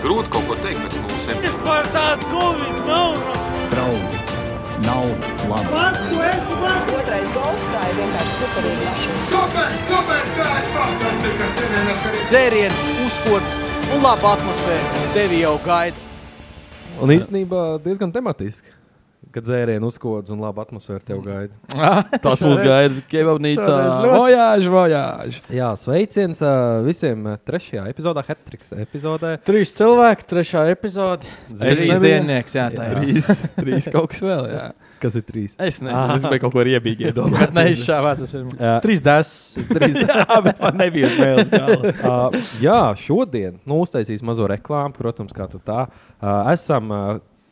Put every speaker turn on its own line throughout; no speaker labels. Grūti kaut ko teikt pēc mūsu epizodes.
Espartado Gomes, não, não.
draugi, nav labi.
Otrais gols tā ir vienkārši superīga mašīna.
dzērienu, uzkodas un laba atmosfēra tevi jau gaida.
Un īstenībā diezgan tematiski. Kad dzērienu uzkodas un laba atmosfēra tev gaida.
Tas mums gaida Kevabnīcā.
Mm. Ah, Šoreiz ļoti-
Vojāž, vojāž.
Jā, sveiciens ā, visiem ā, trešajā epizodē, Hetriks epizodē.
Trīs cilvēki, trešā epizode.
Zvaigznes
Trīs
nebija.
diennieks, jā, tā ir.
Trīs, trīs kaut kas vēl, jā.
Kas ir trīs?
Es nezinu, es gribēju kaut ko riebīgi
Bet
iedomāt.
ne izšāvās. es pirmo.
Jā.
Trīs desas.
Trīs.
jā, bet man nebija smēles galva.
uh, jā, šodien nu, uztaisīs mazo reklāmu, protams, kā tad tā. Uh, esam uh,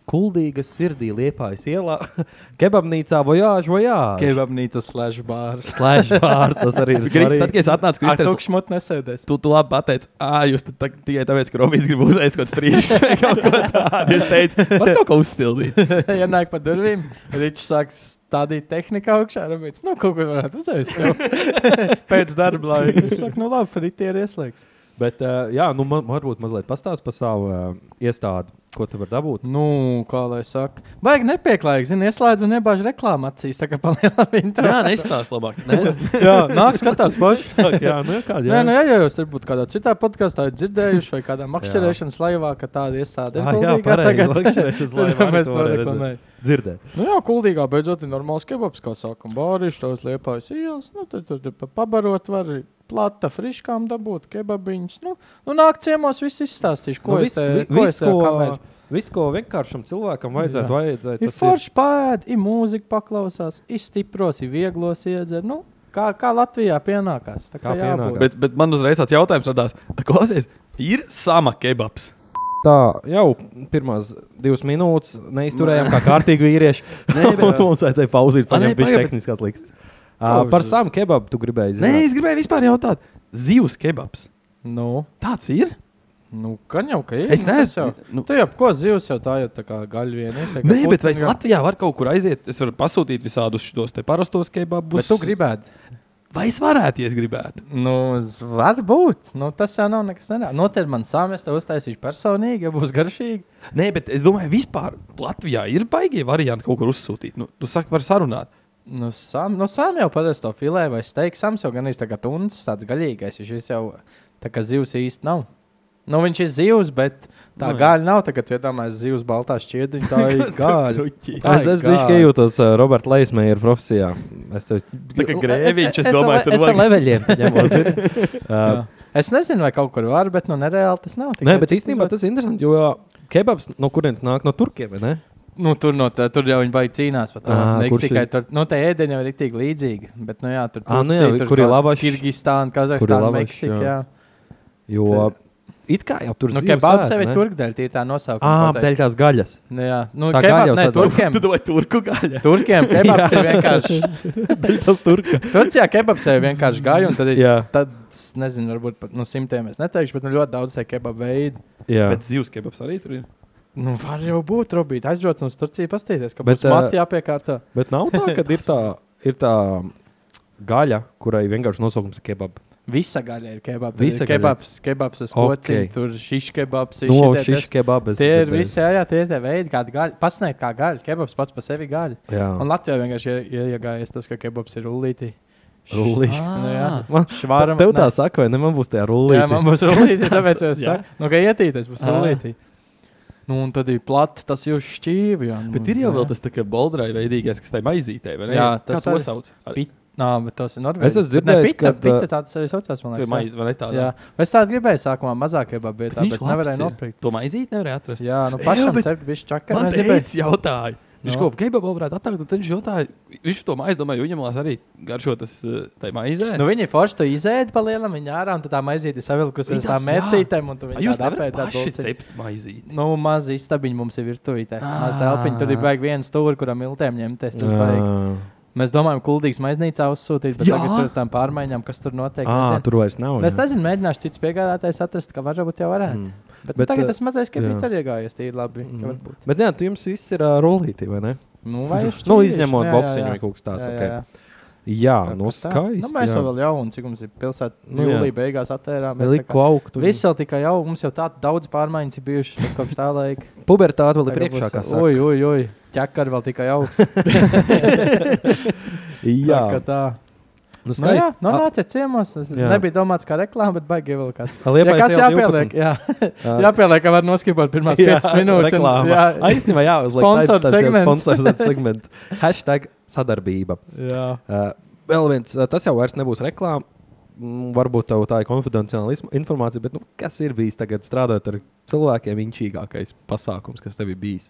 kuldīgas sirdī liepājas ielā, kebabnīcā vojāž, vojāž.
Kebabnīca slash bārs.
Slēdz vārds, tas arī ir
Gri- Tad, kad
svarīgi.
es atnācu
Ar
Kristers,
tukšu mut nesēdēs.
tu, tu labi pateici, ah, jūs te tak- tikai tāpēc, ka Robijs grib uzreiz kaut kāds prīšs vai kaut ko tādu. Es teicu, var kaut ko uzsildīt.
Ienāk pa durvīm, Ričs sāk stādīt tehniku augšā. Robīts, nu, kaut ko varētu uzēst. Pēc darba laika. Es saku, nu labi, fritieri ieslēgs.
Bet, uh, jā, nu, man, varbūt mazliet pastāst par savu uh, iestādi, ko tu vari dabūt.
Nu, kā lai saka. Baigi nepieklājīgi, zini, ieslēdz un iebāž reklāmu acīs. Tā kā palielina viņa.
Jā, nestāst labāk. Ne?
Jā, nāk skatās paši.
Jā, nu, kā,
Nē, nē, jā, jūs varbūt kādā citā podkāstā esat dzirdējuši, vai kādā makšķerēšanas laivā, ka tāda iestāde ir.
Ah, jā,
kuldīgā tagad.
pareizi, makšķerēšanas
Tā
laivā arī
mēs
to varēja redzēt.
noreklamējam.
dzirdēt.
Nu jā, kuldīgā beidzot ir normāls kebabs, kā sākam bārīšu, tos liepājas ielas, nu tad tur pa pabarot var plata friškām dabūt kebabiņus. Nu, nu nāk ciemos, viss izstāstīšu, ko
Nu,
es te, ko es te kameru.
visu, ko vienkāršam cilvēkam
Jā.
vajadzētu, vajadzētu
Ir forši pēd, ir mūzika paklausās, ir stipros, ir vieglos iedzer. Nu, kā, kā Latvijā pienākās. Tā kā,
Kā
kā jābūt.
pienākās.
Bet, bet man uzreiz tāds jautājums radās, klausies, ir sama kebabs.
tā jau pirmās divas minūtes neizturējām kā kārtīgi vīrieši. Nē, bet mums vajadzēja pauzīt,
Ah, nē,
paņemt bija
pagaid, bet-
tehniskās likmes. Uh, par samu kebabu tu gribēji
Nē,
zināt.
es gribēju vispār jautāt, zivs kebabs.
Nu,
Tāds ir?
nu, ka jau ka ir.
Es
nu, tas
neesmu-
jau-
nu-
Tu jau ko zivs jau tā jau tā kā gaļvieni.
Nē, bet vai es Latvijā varu kaut kur aiziet? Es varu pasūtīt visādus šos te parastos
Bet
kebabus.
tu gribētu.
Vai es varētu, ja es gribētu?
Nu, z- varbūt. Nu, tas jau nav nekas nenāks. Noteikti man sāmi es te uztaisīšu personīgi, ja būs garšīgi.
Nē, bet es domāju, vispār Latvijā ir baigie varianti kaut kur uzsūtīt. Nu, tu saki, var sarunāt.
Nu, sāmi nu, sām jau parasti to filē vai steigā. Sams jau gan izteiks tāds, tāds gaļīgais. Viņš vis jau tā kā zivs īsti nav. Nu, viņš ir zivs, bet tā
Nu, jā.
nu, gaļa nav. Tagad, ja domājat, zivs baltā šķiedriņa, tā ir gaļa.
Kruķi.
Ai,
Es, es biju
God.
jūtos uh, Roberta Leismēra profesijā. Es tev
Tā kā grēviņš, es
ar
domāju,
le-
tur
es ar
vajag.
leveļiem. te ņemos, ir. Uh,
Es nezinu, vai kaut kur var, bet nu, nereāli tas nav.
Nē,
Tikai
bet
cik
īstenībā
tas
tas ir interesanti, jo kebabs no kurienes nāk no turkiem, vai ne?
Nu, tur, no tā, tur jau viņi baigi cīnās par to.
Ā,
Nē,
kurš
tikai
ir?
tur. Nu, tā ēdienu jau ir tik līdzīga. Bet, nu, jā, tur
Ā, nu jā,
Turcija, tur
kur ir
kā
lavašs?
Kirgistāna, Kazahstāna,
lavašs,
Meksika.
jā.
Jā,
Jo it kā jau tur
nu,
zivs
kebabs
ēd,
jau ir
ne?
turkdēļ, tie ir tā nosaukuma.
Ā, dēļ tās gaļas.
Nu, jā, nu,
Tā gaļa
kebab,
jau
ne,
sadala.
turkiem,
Tu domāji, turku gaļa.
turkiem kebabs ir vienkārši.
Dēļ tās turka.
Turcijā kebabs jau ir vienkārši gāja. Tad, ir-
Jā.
tad, es nezinu, varbūt pat nu, simtiem es neteikšu, bet nu, ļoti daudz ir kebabu veidu.
Jā.
Bet zivs kebabs arī tur ir.
Nu, var jau būt, Robīt, aizbraucam uz Turciju, paskatīties, ka
Bet,
būs
ā,
mati jāpiekārto.
Bet nav tā, ka ir tā, ir tā gaļa, kurai vienkārši nosaukums ir kebab.
Visa gaļa ir kebabs.
Visa
Visa
gaļa.
kebabs, kebabs, es kociņu,
Ok. Nu,
tur šis kebabs, ir
No
šitie, tas-
šīs kebabas.
Tie ir visi, jā, jā, tie ir tie veidi, kāda gaļa. Pasniegt kā gaļa, kebabs pats par sevi gaļa.
Jā,
Un Latvijā vienkārši ie- iegājies tas, ka kebabs ir rullīti.
rullīši.
Nu, jā,
Man-
švāram.
Tev tā
ne.
saka, vai ne? Man būs tajā
Jā, man
rullīte.
būs rullīti, tāpēc es
Jā.
saku, nu, ka ietīties būs
Ā.
rullīti. Nu, un tad ir plats, tas jau šķīvi. Jā, nu,
Bet ir jau
jā.
vēl tas tā kā boldrai veidīgais, kas tai maizītē, vai ne?
Jā,
tas
tas
to
arī.
sauc. Arī.
Pit, nā, bet tas ir
Es
norvēģis.
esmu
Bet ne,
dzirdējis,
pita,
ka,
pita tāds arī saucās, man
Tas ir
liekas. jā.
maiz, vai ne tādā?
Jā, es tādu gribēju sākumā mazāk iebābēt,
Bet
bet,
viņš
bet nevarēju nopirkt.
To maizīt nevarēja atrast.
Jā, nu
Jā,
pašam
bet-
sev bija čakas.
Man
Es gribēju.
teica, jautāja. Viņš
No.
kaut kādā veidā varētu atnākt, un tad viņš jautāja, viņš to maizi domāja, viņam lās arī garšo tas eh, tai maizē.
Nu, viņi forši to izēda pa lielam, viņa ārā, un tad tā maizīte savilkusies
Viņi
uz tām
tās- jā.
mērcītēm, un tu
Ā,
viņu
jūs
tādu
nevarat
apēd ar
paši
dulci.
cept maizīti.
Nu, mazi istabiņi mums ir virtuvītē. Maz telpiņi, tur ir vajag viens stūri, kuram miltēm ņemties. Tas baigi. Mēs domājam, kuldīgs maiznīcā uzsūtīt, bet
Jā.
tagad tur tām pārmaiņām, kas tur notiek.
Ā,
nezinu.
tur vairs nav.
Nu, Es
jā.
nezinu, mēģināšu cits piegādātājs atrast, ka varbūt jau varētu. Mm. Bet,
Bet,
bet tagad
eh,
tas mazais kebabs
jā.
arī iegājies. Tī ir labi. ka varbūt.
Bet jā, tu jums viss ir uh, rullīte, vai ne?
Nu, vai
Nu,
šķīvišķi,
izņemot
jā, jā,
boksiņu
jā.
vai kaut kas tāds,
Jā, jā,
ok.
jā.
Jā,
Tā kā
no
tā.
skaisti.
Nu, mēs
jā.
jau vēl jaunu, cik mums ir pilsēta.
Nu,
Nu,
jā.
jūlijā beigās attērām.
Mēs liku augt. un
Viss vēl tikai jau, mums jau tādas daudz pārmaiņas ir bijušas bet kopš tā laika.
Pubertāte vēl ir
Tagad
priekšā,
būs-
kā saka.
Oi, oi, oi, ķekar vēl tikai augsts.
Jā,
tā. kā tā. Nu,
nu,
jā,
skaisti.
nu, nāciet ciemos. Tas
Jā.
nebija domāts kā reklāma, bet baigi vēl kāds.
A-
Ja
Liepājas
kas
iela
jāpieliek?
12.
Jā,
Ā,
jāpieliek, ka var noskipot pirmās 5 minūtes. un-
reklāma.
jā,
Aizņemā, jā, uzliek
Sponsor
tāds jau
segments.
sponsorizēts segments. Hashtag sadarbība.
jā.
Uh, vēl viens, uh, tas jau vairs nebūs reklāmas. Varbūt tev tā ir konfidenciāla ism- informācija, bet nu, kas ir bijis tagad strādājot ar cilvēkiem, inčīgākais pasākums, kas tev ir bijis?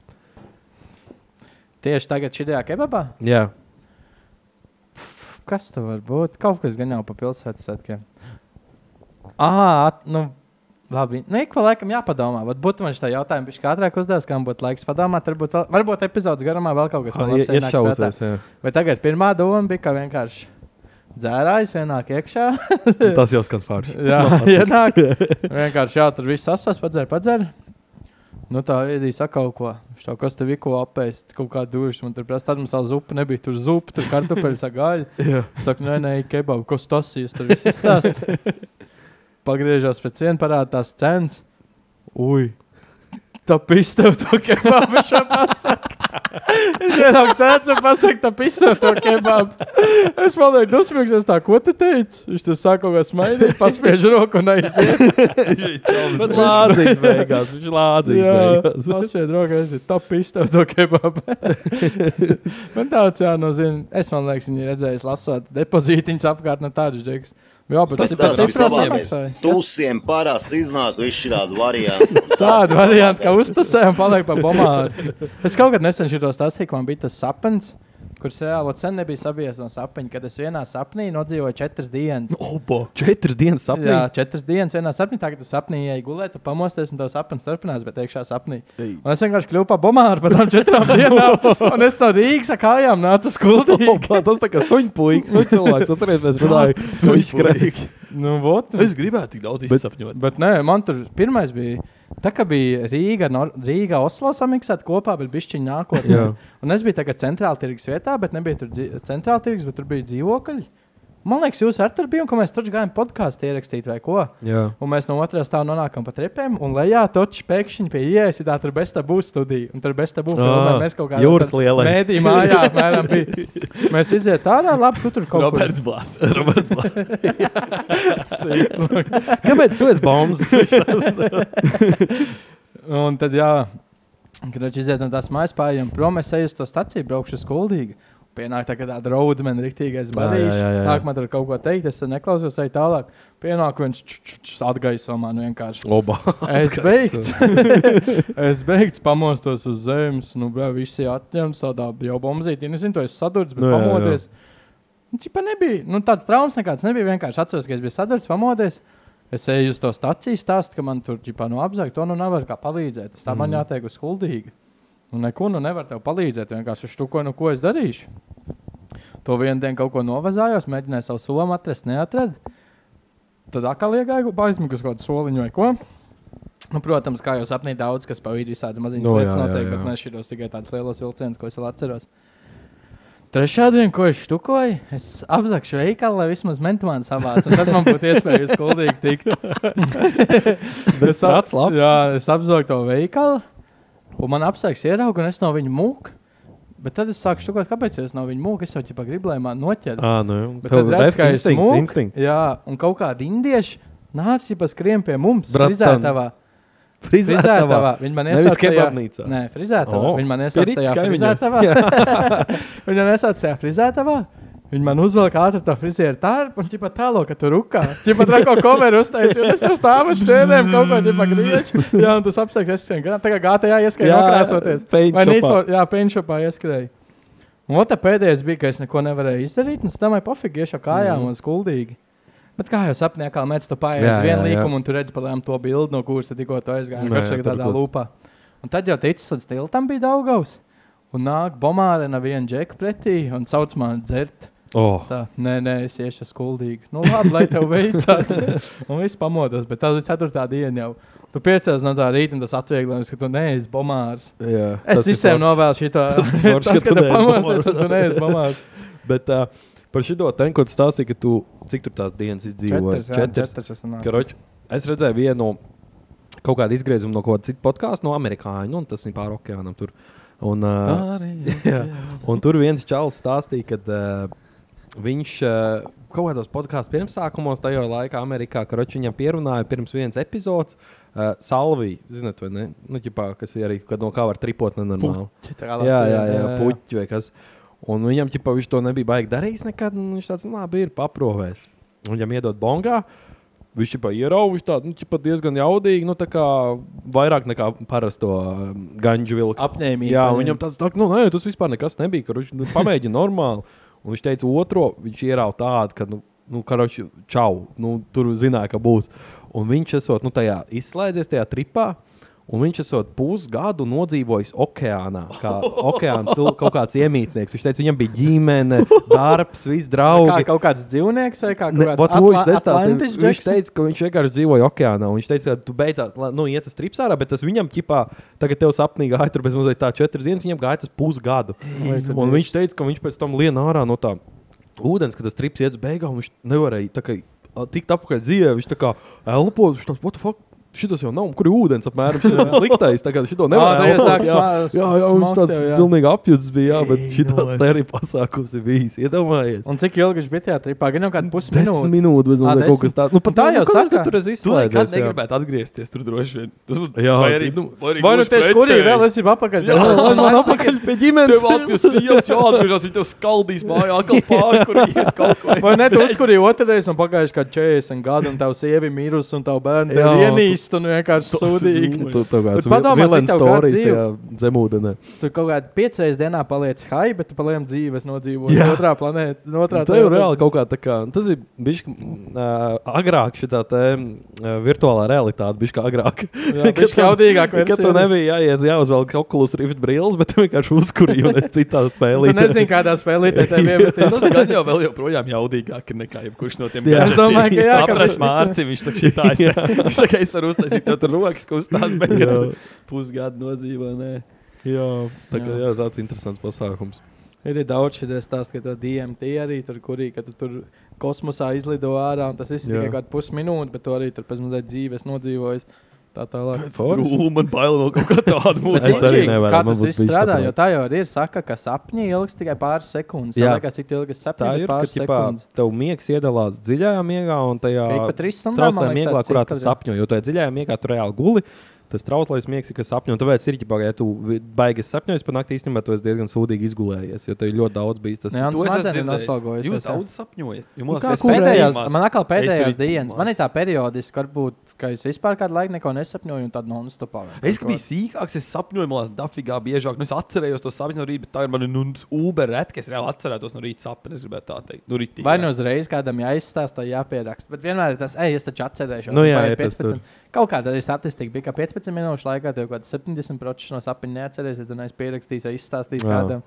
Tieši tagad šajā kebabā?
Jā,
Kas tas var būt? Kaut kas gan jau pa pilsētas svētkiem. Ah, nu, labi. Nē, ko laikam jāpadomā. Varbūt man šī jautājuma bija ātrāk uzdevums, kam būtu laiks padomāt. Varbūt, vēl- varbūt epizodes garumā vēl kaut kas
Ah,
tāds
ie- iešausies. jā.
Bet tagad pirmā doma bija, ka vienkārši dzērājs vienāk iekšā.
Tas jau skan pārši.
jā, ienāk. Vienkārši jā, tur viss sasās, padzer, padzer. Nu tā ēdīs kaut ko. Šo, kas tev ir ko apēst? Kaut kā dušas. Man tur prasa, tad mums tā zupa nebija. Tur zupa, tur kartupeļs ar gaļu. Saka, nē, nē, kebab, kas tas ir? Tur viss izstāsta. Pagriežās pēc cienu, parādās tās cenas. Ui! Tā pistole to kebabu šo pasaku. Es vienam cēlu un pasaku, tā pistole to kebabu. Es palieku dusmīgs, es tā, ko tu teici? Viņš tur sāk kaut kā smaidīt, paspiež roku un aiziet.
Bet lādzīgs beigās, viņš lādzīgs beigās.
paspiež roku, aiziet. Tā pistole to kebabu. man tāds jānozina. Es man liekas, viņi redzējis lasot depozītiņas apkārt no tādas džekas. Jā, bet
Tas
tas
tas
tas ir
vislabāk.
prasāmaksājis.
Tūsiem parasti iznāk visi šādi varianti.
Tāda varianta, ka uztasējām, paliek pa bombām. Es kaut kad nesen šo stāstīju, ka man bija tas sapnis, kurš reāli sen nebija sabijies no sapņa, kad es vienā sapnī nodzīvoju četras dienas.
Četras dienas sapnī.
Jā, četras dienas vienā sapnī, tā kā tu sapnī ej gulēt, tu pamosties un tavs sapnis turpinās, bet iekšā sapnī. Un es vienkārši kļuvu par bombāru par tām četrām dienām, un es no Rīgas ar kājām nācu skuldīgi.
Opa, Oh, tas tā kā suņpuikas, suņ cilvēks. Atcerieties, mēs runājām, suņkrēji.
Nu, vot,
Es gribētu tik daudz izsapņot.
Bet nē, man tur pirmais bija. Tā kā bija Rīga, no, Rīga Oslo samiksēta kopā, bet bišķiņa nākotnē.
Jā.
un es biju tagad centrāla tirgus vietā, bet nebija tur dzi- centrāla tirgus, bet tur bija dzīvokļi. Man liekas, jūs ar tur bijāt, ka mēs taču gājām podkāstu ierakstīt vai ko.
Jā,
Un mēs no otras stāvā nonākam pa trepēm, un lejā točs pēkšņi pie ielas ir tā, tur bez tā būs studija. Un tur bez tā būs
Ā,
mēs kaut kādā
jūras lielais.
Mēdī mājā, apmēram, bija. Mēs iziet ārā, labi, tu tur kaut ko
Roberts Blāzs. Roberts Blāzs.
kāpēc tu esi bombs?
Un tad, jā, kad viņš iziet no tās mājas pārējām, prom es eju uz to stāciju, braukšu uz skuldīgi. Pienāk tā kā tāda raudmena, rīktīgais barīšs.
jā, jā, jā.
Sākumā tur kaut ko teikt, es tur neklausos, eju tālāk. Pienāk viens ču- ču- ču, atgaiso man vienkārši.
Oba.
Es beigts, es beigts, pamostos uz zemes, nu, brā, visi atņemts tādā jau bombzītī. Nezinu, to es sadurts, bet
Nu,
nu,
jā, jā.
pamodies. Nu, Čipa nebija, nu, tāds traumas nekāds nebija. Vienkārši atceros, ka es biju sadurts, pamodies. Es eju uz to stāciju, stāstu, ka man tur ģipā no apzaka, to nu nevar kā palīdzēt. Tas tā mm. man jātiek uz huldīgi. Nu, neko nu nevar tev palīdzēt, vienkārši uz to, ko, nu, ko es darīšu. To vienu dienu kaut ko novazājos, mēģināju savu somu atrast, neatradu. Tad atkal iegāju aizmigus kaut kādu soliņu vai ko. Nu, protams, kā jau sapnī daudz, kas pavīdi visādas maziņas
Nu,
no,
jā,
lietas
jā,
notiek,
jā.
bet ne šitos tikai tāds lielos vilciens, ko es vēl atceros. Trešā diena, ko es štukoju, es apzakšu veikalu, lai vismaz mentāli savācu. un Tad man būtu iespēja uz skuldīgi tikt. es, ap,
tāds labs.
jā, es apzakšu to veikalu, un man apsakts ieraugu, un es no viņa mūku. Bet tad es sāku štukot, kāpēc es no viņa mūku, es jau ķipa gribu, lai man noķer.
Ā, nu,
Bet tad redz, ka es
esmu
mūku.
instinkts.
Jā, un kaut kādi indieši nāca pa skriem pie mums.
Bratan.
Frizētavā. Frizētavā. Viņi man
Nevis
iesauca tajā-
kebabnīcā.
Nē, frizētavā.
O,
Viņi man
pie
iesauca
Riča
tajā
kaimiņos.
frizētavā. Viņa nesāca tajā frizētavā. Viņa man uzvilka ātri tā frizēra tārpu un ķipa tālo, ka tur rukā. Ķipa tā kā koveru uztaisīja, un es tur stāvu uz čēdēm, kaut ko ķipa griežu. Jā, un tas apsaka, es esmu garām. Tā kā gātajā ieskrēju
Jā,
nokrāsoties.
paint
Vai Need
shopā.
for- Jā, pēņšopā ieskrēju. Un tā pēdējais bija, ka es neko nevarēju izdarīt, un es domāju, pofīgi, iešu ar kājām mm. un skuldīgi. Bet kā jau sapnī, kā mēs tam pāri
Jā,
visam
jā, jā.
līkumam, un tur redzam, palēm to bildi, no kuras tu tikko tu aizgāji.
Nu, jā,
Viņš ir
tur
tādā
kaut kas.
lūpā. Un tad jau teicis, līdz tiltam bija Daugaus. Un nāk Bomāra no viena džeka pretī un sauc mani dzert.
Oh.
Es Tā, nē, nē, es iešu skuldīgi. Nu, labi, lai tev veicas. un viss pamodos, bet tas bija ceturtā diena jau. Tu piecēlies no tā rīta, un tas atvieglojums, ka tu neesi Bomārs.
Jā,
Es
tas ir
visiem
forši.
novēlu šo tādu
forši, ka
situāciju,
tu
kad
neesi
pamosties,
Bomārs.
un tu neesi Bomārs.
Bet, uh, Par šito ten, ko tu stāstīji, ka tu cik tur tās dienas
Četras,
izdzīvoji?
jā, četras es sanāku.
Karoč, es redzēju vienu kaut kādu izgriezumu no kaut kāda cita podkāsta, no amerikāņu, un tas ir pāri okeānam. Tur. Un, uh, jā, un tur viens čalis stāstīja, ka uh, viņš uh, kaut kādos podkāstu pirmsākumos tajā laikā Amerikā karoč, viņam pierunāja pirms vienas epizodes. Uh, Salvija, zinot, vai ne? Nu, ķipā, kas ir arī, kad no kā var tripot nenormāli.
tā kā
jā,
Latvijā,
jā, jā,
jā, jā.
puķi vai kas. Un viņam, ķipā, viņš to nebija baigi darījis nekad, un viņš tāds, nu, labi, ir paprovēs. Un viņam iedod bongā, viņš jau ierauga, tādu, nu, ķipā, diezgan jaudīgi, nu, tā kā vairāk nekā parasto um, ganģu vilku.
Apņēmīgi.
Jā, un viņam tāds, tā, nu, nē, tas vispār nekas nebija, ka viņš nu, pamēģina normāli. Un viņš teica, otro, viņš ierauga tādu, ka, nu, nu karoči, čau, nu, tur zināja, ka būs. Un viņš esot, nu, tajā izslēdzies tajā tripā. Un viņš esot pusgadu nodzīvojis okeānā, kā okeāna cil- kaut kāds iemītnieks. Viņš teica, viņam bija ģimene, darbs, viss
Kā
draugi.
kaut kāds dzīvnieks vai kā kaut
Ne,
kāds
vat, to viņš nestāstīja.
Atlantis
Viņš
Jackson?
teica, ka viņš vienkārši dzīvoja okeānā. un Viņš teica, ka tu beidzot, la- nu, iet uz trips ārā, bet tas viņam ķipā, tagad tev sapnī gāja tur bez mazliet tā četras dienas, viņam gāja tas pusgadu. Un viņš teica, ka viņš pēc tam lien ārā no tā ūdens, kad tas trips iet uz beigām, viņš nevarēja tā kā a, tikt apakaļ dzīvē. Viņš tā kā elpo, viņš tāds, what the fuck? Šitas jau nav, un kur ir ūdens apmēram? Šis ir sliktais, tā kā šito nevar.
tagad sāk
jā,
smā-
jā, jā, viņš
smaukt
tāds
tev, jā.
pilnīgi apjūts bija, jā, bet šitāds te arī pasākums ir bijis. Iedomājies!
Un cik ilgi viņš bija tajā tripā? Gan jau kādu
Desmit
pusminūti.
minūtes, bet
Ā,
man liekas, kaut
desmit.
kas tāds. Nu, pat
Tā jau
nu, kad
saka.
tu tur es
Tu nekad
izslēdzos. jā.
negribētu atgriezties tur droši vien. Tas būtu
Jā,
vai arī.
tu-
Nu, vai arī
Vai nu
gluži
tieši kur ir
pretēji.
vēl esi apakaļ? nu
Jā,
Lai man atpakaļ pie
Tev
ģimenes.
apjūs ielas, jāatgriežas, viņi tev skaldīs mājā, atkal pāri, kur ies kaut ko.
Vai ne? Tu uzkurīji otrreiz, un pagājuši kā 40 gadi, un tavs sievi mirusi, un tavs bērns ir
Jā, tu-
ienīst, un vienkārši sūdīgi.
Tu tā kā
Bet
tu
padomā, cik
vilens
tev kāda
stāstījis
dzīve.
tajā zemūdenē.
Tu kaut kādā piecreiz dienā paliec high, bet tu paliec dzīves nodzīvot
Jā.
otrā planētā. No
Nu,
otrā
Tā ir
planētas.
reāli kaut kā tā kā, tas ir bijis agrāk šī tā te, uh, virtuālā realitāte, bija kā agrāk.
Jā, bišķi jaudīgāk
Kad
versija.
tu nebija jāiet, jāuzvelk okulus rift brilles, bet tu vienkārši uzkurīji un es citā spēlē.
Tu nezini, kādā spēlē tev ir
Tas
jābūt.
gan jau vēl joprojām jaudīgāk ir nekā jebkurš no tiem.
Jā.
Es domāju, ka jā, ka
Apras
mēs-
mārci, viņš saka, šitā es, viņš saka, es varu uztaisīt tev tur rokas kustās, bet kad tu pusgadu nodzīvo, nē.
Jā, tā kā, jā, tāds interesants pasākums.
Ir daudz šī stāsta, ka to DMT arī tur kurī, ka tu tur kosmosā izlido ārā, un tas viss ir
Jā.
tikai kaut kāds pusminūte, bet tu arī tur pēc mazliet dzīves nodzīvojis. Tā tālāk.
Rūma un baila vēl kaut kā tādu
Es
mūziku.
Bet
arī
rīčīgi,
nevaru,
Kā
man
tas
būtu
viss
bijis
strādā,
tāpat.
jo tā jau arī ir saka, ka sapņi ilgs tikai pāris sekundes.
Jā.
Jā, tā liekas, cik ilgi es
Tā
sapņoju,
ir
ir
tā,
pāris
ka
sekundes.
tev miegs iedalās dziļajā miegā un tajā
Ka ik pa trīs stundām, man
trauslajā
liekas,
mieglā,
Nu, tāds
kurā
ir
tu
kad-
sapņo. Jo tajā dziļajā miegā tu reāli guli. Tas trauslais miegs ir, kas sapņo. un Tāpēc ir ģipā, ja tu vi- baigi sapņojies par naktī, īstenībā tu esi diezgan sūdīgi izgulējies, jo tev ļoti daudz bijis tas.
Jā, un
To es esmu
smadzenes ir
dzirdējis.
noslogojusies,
Jūs
jā.
daudz sapņojat.
Nu
Jo man
kā
liekas,
kur
mēs
Pēdējās,
pēdējās-
man atkal pēdējās
Es arī-
dienas, man ir tā periodiski, varbūt, ka es vispār kādu laiku neko nesapņoju un tādu non-stopā.
Es ka biju sīkāks, es sapņoju, man liekas, dafigā biežāk. Nu, es atcerējos to sapņu no rīta, bet tā ir mana nu, uber reta, ka es reāli atcerētos no rīta sapni. Es gribētu tā teikt, nu, rītī.
Vai nu uzreiz kādam jāizstāsta, jāpieraksta. Bet vienmēr ir tas, ej, es taču atcerēšos.
Nu
un
jā,
paiet
ir tas tur.
Kaut kāda arī statistika bija, ka 15 minūšu laikā tev kaut kāds 70% no sapņu neatcerēsies, un es pierakstīšu, aizstāstīšu
Jā.
kādam.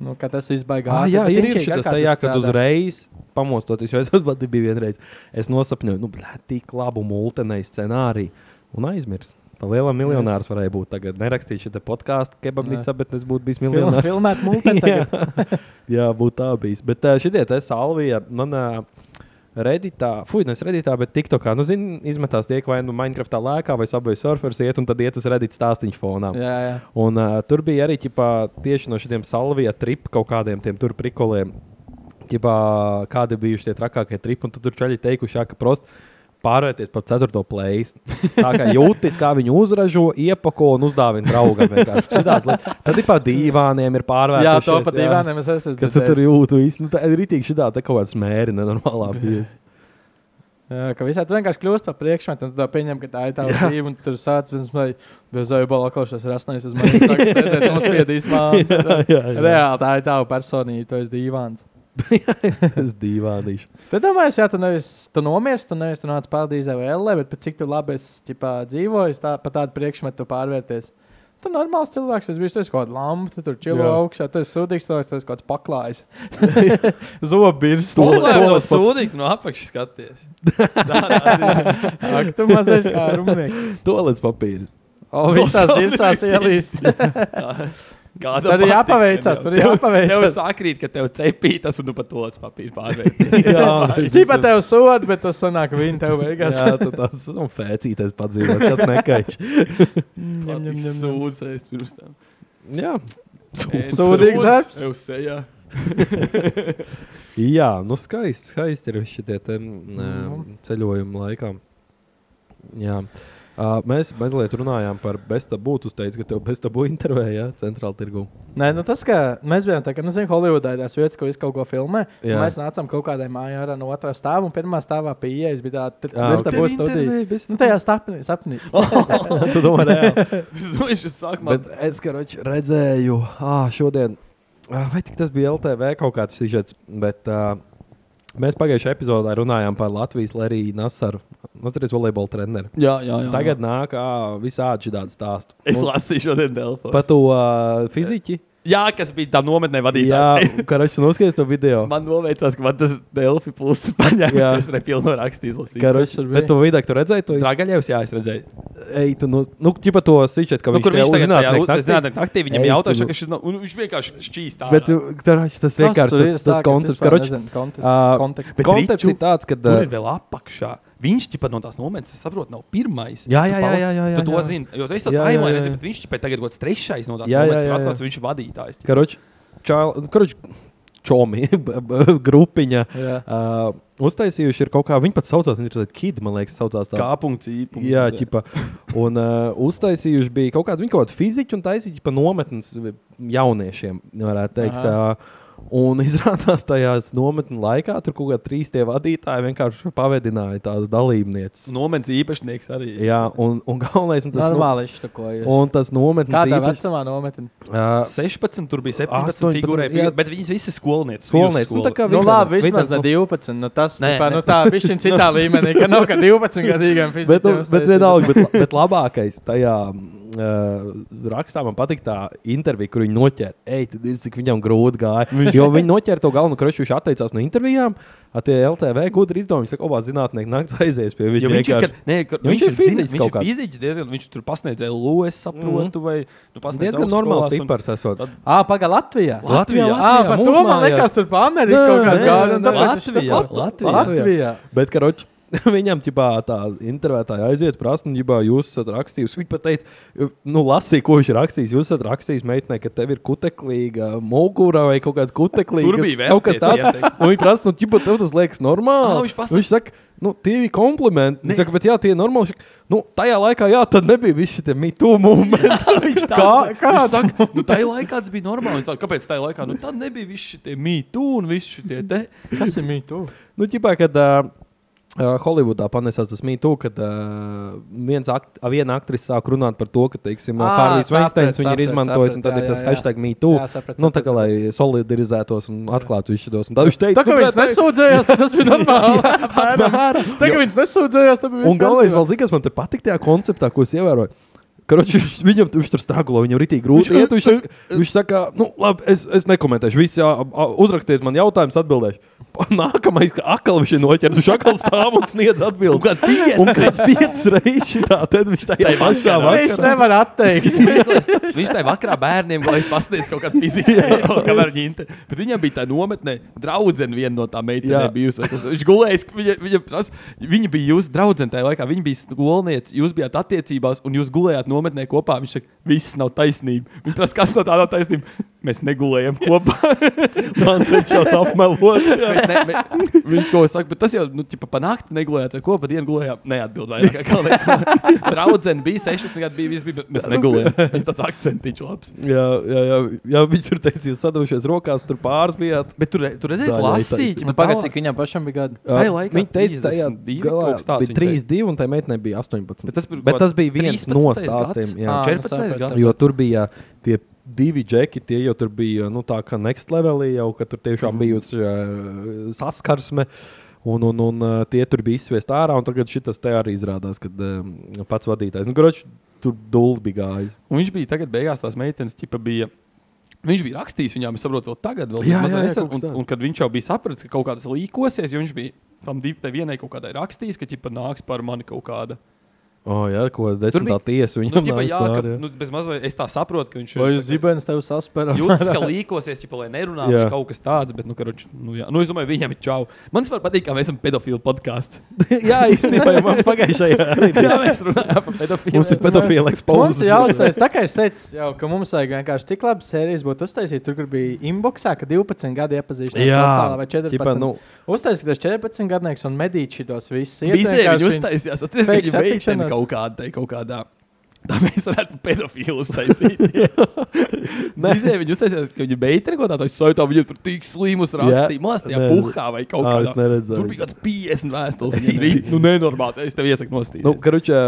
Nu, ka tas viss baigās.
Ah, jā, ir īsi tas tajā, kad uzreiz pamostoties, jo es pats biju vienreiz. Es nosapņoju, nu, blē, tik labu multenēju scenāriju un aizmirsu. Tā lielā miljonārs varēja būt tagad. Nerakstīšu te podkāstu, kebabnīcā, bet es būtu bijis miljonārs.
Filmēt multeni tagad.
jā, jā būtu tā bijis. Bet ā, šitie te salvija manā redītā, fuck, nevis redītā, bet tiktokā, nu, zini, izmetās tiek vai nu Minecraftā lēkā, vai sabojā surfers iet, un tad iet uz redīt stāstīņu fonā.
Jā, jā.
Un, uh, tur bija arī ķipā, tieši no šiem salvija tripiem, kaut kādiem tiem tur prikoliem. Ķipā, kādi bija tie trakākie tripi, un tad tur čaļi teikuši, jā, ka prosti pārvērties par ceturto plēsu. Tā kā jūtas, kā viņi uzražo, iepako un uzdāvina draugam. vienkārši. Šitās lietas. Tad ir pa dīvāniem ir pārvērties.
Jā, to pat divām es esmu
Kad tu tur jūtu, īsti, nu, tā ir rītīgi šitā tā kaut kāda smēri, nenormālā bijusi.
Jā, ka visā tur vienkārši kļūst par priekšmetu, un tu tā pieņem, ka tā ir tā līnija, un tur sācis vismaz bez zvaigznes, kā šis rasnais uz manis stāstīs, nospiedīs man.
jā, jā.
Reāli tā ir tava personība, tu esi divāns.
Tas dīvānīši.
Tad domāju, jā, tu nevis tu nomirsti, tu nevis tu nāc pārdīzē vai ellē, bet pat cik tu labi es ķipā, dzīvoju, tā, pa tādu priekšmetu tu pārvērties. Tu normāls cilvēks, es biju, tu esi kaut kāda lampa, tu tur čilo
Jā.
augšā, tu esi sūdīgs cilvēks, tu esi kaut kāds paklājs. Zobirs,
to jau no sūdīgi no apakšas skaties.
Ak, tu mazais kā rumnieks.
To līdz papīrs.
O, visās dirzās ielīst.
Kāda
Tur ir jāpaveicās, tur ir
Tev
jāpaveicās.
sakrīt, ka tev cepītas un tu nu pat to papīru pārvērties.
Čipa tev sodi, bet tas sanāk viņa tev beigās.
Jā, tu tāds nu, fēcītais padzīvot, kas nekaiķis.
Ņem, ņem, ņem, ņem.
Sūdzēs pirms tam.
Jā.
Sūdīgs darbs.
Tev sejā.
Jā, nu skaisti, skaisti ir šie mm. ceļojumi laikā. Jā. Uh, mēs mazliet runājām par bestabū. Tu teici, ka tev bestabū intervijā centrāla tirgu.
Nē, nu tas, ka mēs bijām tādā, nu, zinu, Holivudā ir tās vietas, kur es kaut ko filmēju.
Jā.
un Mēs nācām kaut kādā mājā ārā no otrā stāva, un pirmā stāvā pie ieejas bija tāda,
Ah,
kas
ok.
tā būs studija. Nu, tajā sapnī, sapnī.
tu domā, reāli.
Nu, Viņš sākumā
Bet es karoči, redzēju, ah, šodien, ah, vai tik tas bija LTV kaut kāds sižets, bet uh, mēs pagājušajā epizodē runājām par Latvijas Leriju Nasaru. Atceries volejbola treneru.
Jā, jā, jā.
Tagad nāk ah, visādi šādi stāsti. Nu,
es lasīju šodien Delfos.
Par to uh, fiziķi.
Jā, kas bija tam nometnē vadītājs.
Jā, karoči, noskaties to video.
Man novēcās, ka man tas Delfi pulss paņēma,
Jā.
jo es nepilnu rakstu izlasīju.
Karoči,
tur bija?
bet tu vidē, tu redzēji to
Dragaļevs, jā, es redzēju.
Ej, tu no, nu, ķipa to sižetu, ka
Nu,
viņš
kur viņš
tev uzzinātniek
tagad bija?
naktī-
Es nezinu, naktī viņam
Ej,
jautāju,
tu-
ka šis nav, un viņš vienkārši šķīstā.
Bet, uh, karoči, tas vienkārši
tur ir
tas, tas
tā, ka es
koncepts,
vispār
karoči.
nezinu kontekstu-
ā,
kontekstu.
bet Koncepts ir tāds, ka.
Tur ir uh, vēl apakšā. Viņš pat no tās nometnes, es saprotu, nav pirmais.
Jā, jā,
Tu
jā,
pal-
jā, jā, jā,
Tu to
jā.
zini, jo tu esi to
Jā, jā,
taimē,
jā, jā.
nezinu, bet viņš pat tagad kaut kāds trešais no tās
Jā, jā,
nometnes ir
jā, jā.
atklāts, un viņš ir vadītājs.
Karoči, čal, karoči, čomi, b- b- grupiņa.
Jā.
Uh, uztaisījuši ir kaut kā, viņi pat saucās, viņi ir kid, man liekas, saucās tā.
Kāpunkts, īpunkts.
Jā, ķipa. Un uh, uztaisījuši bija kaut kādu, viņi kaut kādu fiziku un taisīju pa nometnes e, jauniešiem, varētu teikt. Uh, un izrādās tajās nometnes laikā tur kaut kā trīs tie vadītāji vienkārši pavedināja tās
Nu.
dalībnieces.
Nometnes īpašnieks arī.
Jā, un, un galvenais, un tas, no,
Normāli viņš to ko jau.
un tas nometnes
Kādā
īpaš-
vecumā nometnē?
ā,
16, tur bija
18,
17 figūrē,
jā.
bet viņas visas skolnieces.
Skolniece.
vidusskola.
Nu, tā kā
Nu,
Vidmars-
labi, vismaz
Vidmars,
ne
nu-
12. Nu, tas
Nē,
nē, nē.
nē.
Nu, tā bija viņa citā līmenī, ka nav kā 12 gadīgam
Bet,
fizikam.
nu, bet vienalga, bet, la- bet labākais tajā uh, rakstā man patīk tā intervija, kur viņi noķēra. Ej, tad ir cik viņam grūti gāja. Jo viņi noķēra to galveno krašu, viņš atteicās no intervijām. Ar tie LTV gudri izdomāja, viņš saka, obā zinātnieki naktas aizies pie
Jo
viņa.
viņš, ir, ka- nē, ka,
Jo
viņš ir fiziķis. Viņš
kaut
ir
kāds. Mhm.
fiziķis diezgan. Viņš tur pasniedzēja LOE, es saprotu, mm. vai nu, pasniedz
diezgan
augstskolās
normāls
un-
tipars. esot.
Tad-
Ā, pagaidi, Latvijā.
Latvijā,
Ā, par
Latvijā,
to
mūsu
man
mājās.
liekas, tur pa Ameriku kaut
nē,
kādā gārā.
nē,
Latvijā,
Latvijā.
Latvijā.
Latvijā.
Bet, karoči, viņam ķipā, tā intervētāja aiziet, prasa, un ģipā, jūs esat rakstījis. Viņš pat teica, nu, lasīja, ko viņš ir rakstījis. Jūs esat rakstījis meitenei, ka tev ir kuteklīga mugura vai kaut kāda kuteklīga.
Tur bija vēl
kaut kas
tie
tāds.
tie,
Un Viņi prasa, nu, ģipā, tev tas liekas normāli.
Ā, viņš pasaka-
viņš saka, nu, tie ir komplimenti. Viņš saka, bet jā, tie ir normāli. Viņš saka, Nu, tajā laikā, jā, tad nebija visi šie mītū momenti.
Viņš tā kā, kā? saka, nu, tajā laikā tas bija normāli. Viņš Saka, kāpēc tajā laikā? Nu, tad nebija visi šie mītū un visi šie te.
Kas ir mītū?
Nu, ģipā, kad, uh, uh, Holivudā panesās tas mītū, kad uh, viens akt, uh, viena aktrise sāk runāt par to, ka, teiksim,
Ā,
Hārvijas
sapratu,
Veinsteins viņu ir
sapratu,
izmantojis, un
sapratu,
tad ir
jā,
tas
jā, jā.
hashtag mītū,
Jā, sapratu,
nu, tā kā lai solidarizētos un atklātu visus šos. Un tad viņš
Tā
teica, "Nu,
kā viņš nesūdzējās, tad tas bija normāli. Apmēram.
apmēram.
Tā kā viņš nesūdzējās, tad bija
Un
viss
galvenais,
kārtībā.
vēl zina, kas man te patīk tajā konceptā, ko es ievēroju. Karoči, viņš, viņam tu- viņš tur strāgulo, viņam ir itī grūti. Iet, viņš, saka, viņš saka, nu, labi, es, es nekomentēšu. Visi, jā, a- a- uzrakstiet man jautājumus, atbildēšu. Pa- Nākamais, ka akal viņš ir noķers, viņš akal stāv un sniedz atbildi. Un
kā pieci.
kāds piecas reizes tā, tad viņš tajā pašā
Viņš
vakarā.
nevar atteikt.
Viņš tajā vakarā bērniem gāja pasniedz kaut kādu fiziku, kamēr viņi inte. Bet viņam bija tā nometnē, draudzene viena no tām meitenēm
Jā.
bijusi. vai kaut kas. Viņš gulējis, viņa, viņa, prasa, viņa bija jūsu draudzene tajā laikā, viņa bija skolniece, jūs bijāt attiecībās un jūs gulējāt nometnē kopā. Viņš saka, viss nav taisnība. Viņš prasa, kas no tā nav taisnība. Mēs negulējam kopā.
Man cenšas apmelot.
Mēs ne, me, viņš kaut ko saka, bet tas jau, nu, tā pa nakti negulējāt, vai kopā dienu gulējām. Neatbildēja. Draudzene bija 16 gadu, bija viss, bija, bet mēs
Nu,
negulējām. Viņš tāds akcentiņš labs.
Jā, jā, jā, jā, viņš tur teica, jūs sadavušies rokās, tur pāris bijāt.
Bet tur, tur redzēja,
Tā, jā,
ka lasīja.
Nu, Pagaid, cik viņam pašam bija gadi.
Tajā laikā
Viņa teica, ka
32 kaut kas
tas
tāds
bija 3,
viņa
2, un tai meitenei bija 18.
Bet tas bija
bet
kaut
tas
kā
bija viens
13.
no
gads?
stāstiem. jā.
Ā, nu
14
sapratu,
gads.
sapratu.
Jo tur bija tie divi džeki, tie jau tur bija nu, tā kā next levelī, jau ka tur tiešām bija uh, saskarsme. Un, un, un uh, tie tur bija izsviest ārā, un tagad šis te arī izrādās, ka um, pats vadītājs. Nu, Groč, tur dūli bija gājis.
Un viņš bija tagad beigās tās meitenes, tipa bija. Viņš bija rakstījis viņām, es saprotu, vēl tagad, vēl
Jā,
mazā
jā, jā,
nesen,
kaut kas
un,
tāds.
un kad viņš jau bija sapratis, ka kaut kādas līkosies, jo viņš bija tam divi, tai vienai kaut kādai rakstījis, ka tipa nāks par mani kaut kāda.
Oh, jā, ko desmitā tiesa
Nu,
viņam
ģipa,
nāk
jā,
pār,
ka,
jā.
nu, bez mazliet, es tā saprotu, ka viņš
Vai jūs zibens tev saspēra?
Jūtas, ka līkosies, ja lai nerunā
Jā.
vai kaut kas tāds, bet, nu, karoč, nu, jā. nu es domāju, viņam ir čau. Man vispār patīk, ka mēs esam pedofilu podkāsts.
jā, īstenībā jau man pagājušajā arī bija.
jā, mēs runājam par pedofiliem.
Mums ir pedofila
Mums
ekspozīcija.
ir jāuztais. Tā kā es teicu, jau, ka mums vajag vienkārši tik labi sērijas būt uztaisīt. Tur kur bija inboxā, ka 12 gadi iepazīšanās portālā vai 14.
Ķipa, nu,
Uztaisīt, ka tas 14 gadnieks un medīči tos visus. iet
Visiem
vienkārši
viņi
viņus-
uztaisījās. Atceries, ka
fake
viņi meiteni
satikšanās.
kaut kādā, tai kaut kādā. Tā mēs varētu pedofilu uztaisīt. Visiem viņi uztaisījās, ka viņi meiteni kaut kādā, tā es sajūtā, viņiem tur tik slimus rakstīja. Mās tajā
Nē.
puhā vai kaut
Ā,
kādā.
es neredzēju.
Tur bija kāds 50 vēstules. viņiem rīt. Nu, nenormāli. Es tev iesaku nostīt.
nu, karuča,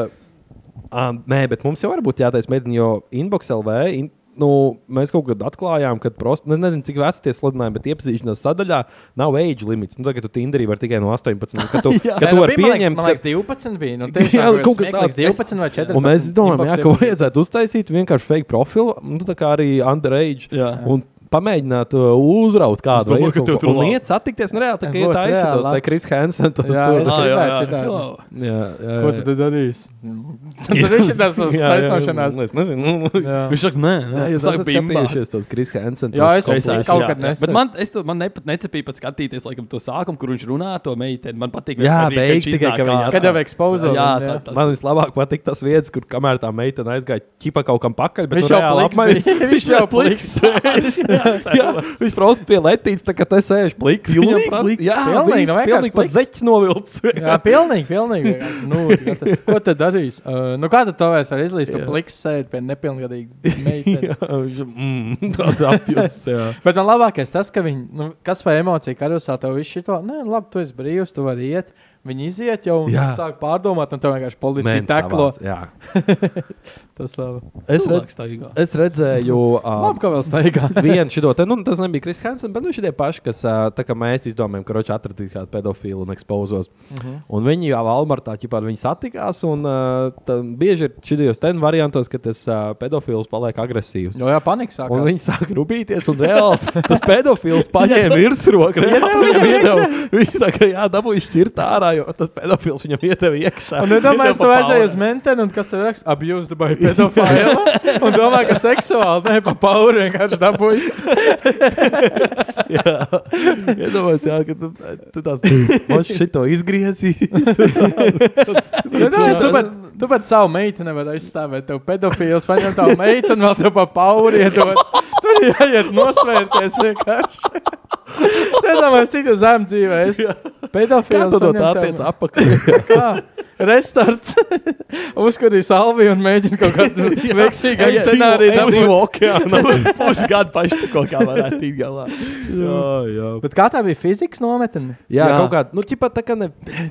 ā, nē, bet mums jau varbūt jātaisa mēģinājumi, jo Inbox LV. In, Nu, mēs kaut kad atklājām, ka prost, ne- nezinu, cik veci tie sludinājumi, bet iepazīšanās sadaļā nav age limits. Nu, tagad tu Tinderī vari tikai no 18. Kad tu, jā,
Nē,
kad
nu,
tu vari
bija, man liekas, Man
pieņemt, ka-
liekas, 12 bija. Nu,
Jā,
tiešām,
kaut
kaut
kas
kas tāds.
tāds.
12 vai 14.
Un mēs domājam, jā,
inbox
ka
ir-
vajadzētu uztaisīt vienkārši fake profilu, nu, tā kā arī underage.
Jā.
Un pamēģināt uh, uzraut kādu
domāju, ka
veidu,
tev tur
un
labi.
iet satikties. Nu, reāli, tā kā
Būtu
tā
reāli
izskatās, tā
labs.
Kris Hansen tos
Jā,
tur.
es
Ā, jā, jā,
gribētu šitādi.
jā.
Jā, jā,
Ko tu tad darīsi? Tur ir šī tas taisnošanās.
Es nezinu, nu,
Jā.
Viņš saka, nē, nē,
Jūs
jūs
esat
esat bimbā.
skatījušies tos Kris Hansen.
Jā,
tos
es esmu.
kompleksus?
kaut kad nesen.
Bet man, es to, man nepat, necepīju pat skatīties, laikam, to sākumu, kur viņš runā to meiteni. Man patīk,
Jā,
vienkārši,
beigas
viņš
tikai,
iznāk
ka viņa-
ārā.
Kad jau ekspozīcijā?
Jā, tā, tas,
Man vislabāk patīk tas vietas, kur kamēr tā meitene aizgāja ķipa kaut kam pakaļ, bet
Viņš
nu
jau
reāli
pliks
apmainījās.
bija. Viņš jau pliks.
Jā, viņš prasa pie letītes, tā kā te sēž pliks.
Pilnīgi
Viņam prasa-
pliks.
Jā,
Pilnīgi,
pilnīgi,
nu, vienkārši
pilnīgi pat
pliks.
zeķis novilcis.
Jā, pilnīgi, pilnīgi. vienkārši. Nu, gata. ko tad darīs? Uh, nu, kā tad to vairs var izlīst? Tu
Jā.
pliks sēdi pie nepilngadīga meitene.
Jā, viņš mm, tāds apjūts. jā.
Bet man labākais tas, ka viņi, nu, kas vai emocija karusā tev visu šito, nē, labi, tu esi brīvs, tu vari iet. Viņi iziet jau un
Jā.
sāk pārdomāt, un tev vienkārši policija
Mēnesis
teklo.
savāds, jā.
Tas labi.
Es, redz,
Cilvēks tā ir.
es redzēju, um,
Labi, ka vēl staigā.
vienu šo te, nu, tas nebija Kris Hansen, bet nu, šie paši, kas ā, tā kā mēs izdomājām, ka Roča atradīs kādu pedofilu un ekspozos. Uh
Mhm.
-huh. Un viņi jau Almartā ķipā ar viņu satikās, un ā, tā, bieži ir šajos ten variantos, ka tas ā, pedofils paliek agresīvs.
Jo jā, panika sāk.
Un viņi sāk rūpīties, un reāli tas pedofils paņēma virsroku. reāli Viņam iedeva, viņš tā kā jā, dabūja šķirt ārā, jo tas pedofils viņam ieteva iekšā.
Un nedomāju,
Iedeva
ka tu
pa
aizēji
pauri.
uz menteni, un kas tev liekas, abuse by pedophile. un domāju, ka seksuāli, ne, pa pauri vienkārši dabūji.
Iedomājieties, jā, ka tu, tu tās mašas šito izgriezīs.
Nedomāju, tu pat, tu pat savu meitu nevar aizstāvēt. Tev pedofils paņem tavu meitu un vēl tev pa pauri iedod. Tu jāiet nosvērties vienkārši. Nedomāju, cik tu zem dzīvē esi.
Kā
Pedofils
tu to
paņem
tā
tavu-
teici apakaļ?
Kā? Restarts. Uzskatīja salvi un mēģina kaut kādu veiksmīgāku scenāriju dabūt.
okeāna. Pusgadu paštuko, kā varētu tikt galā.
Bet kā tā bija fizikas nometne?
Jā,
Jā.
kaut kāda, nu, ķipa, tā kā ne.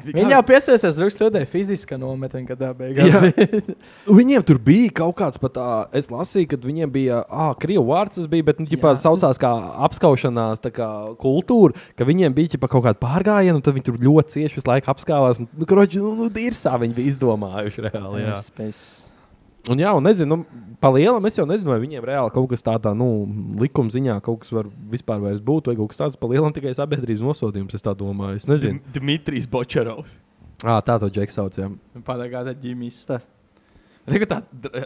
Viņa jau piesaistījās drusku studijai fiziskā nometnē, kad tā beigās.
Jā. Viņiem tur bija kaut kāds pat, ā, es lasīju, ka viņiem bija, ah, krievu vārds tas bija, bet, nu, ķipā,
Jā.
saucās kā apskaušanās, tā kā kultūra, ka viņiem bija, ķipā, kaut kāda pārgājiena, un tad viņi tur ļoti cieši visu laiku apskāvās, un, nu, kroķi, nu, nu, dirsā viņi bija izdomājuši reāli, jā. Un jā, un nezinu, nu, pa lielam es jau nezinu, vai viņiem reāli kaut kas tādā, nu, likuma ziņā kaut kas var vispār vairs būt, vai kaut kas tāds, pa lielam tikai sabiedrības nosodījums, es tā domāju, es nezinu.
Dmitrijs Bočarovs.
Ā, tā to džeks sauc, jā.
Pārāk gada ģimenes tas
Reku tā,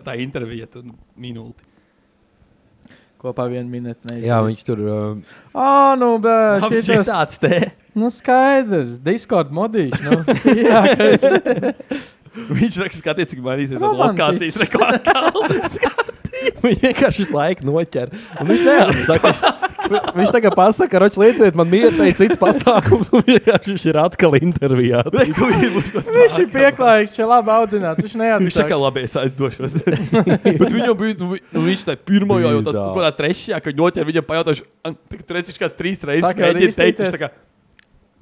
tā intervija, tu minūti.
kopā vienā minūtē.
Jā, viņš tur. Um,
Ah, nu, bet
Šis
šitas.
tāds te.
Nu, skaidrs. Discord modīši. Nu.
Viņš raksta, skaties, cik mainīsies no
Romantiķis.
lokācijas. Reku atkal.
Viņš vienkārši visu laiku noķer. Un Viņš neatsaka. Viņš tagad pasaka, roči, lieciet man mieru, tai cits pasākums. Un vienkārši viņš ir atkal intervijā.
Reku ir būs kaut
Viņš
kas.
ir pieklājīgs, viņš ir labi audzināts. Viņš
Viņš tā kā
neatsaka.
labi es aizdošos. Bet viņam bija, nu, vi- nu viņš tā pirmajā jau tāds,
Bīdā.
kaut kādā trešajā, kad noķer, viņam pajautāšu, tad redzēšu kāds trīs reizes.
Saka,
mēģina teikt, Viņš
rīstīties.
tā kā,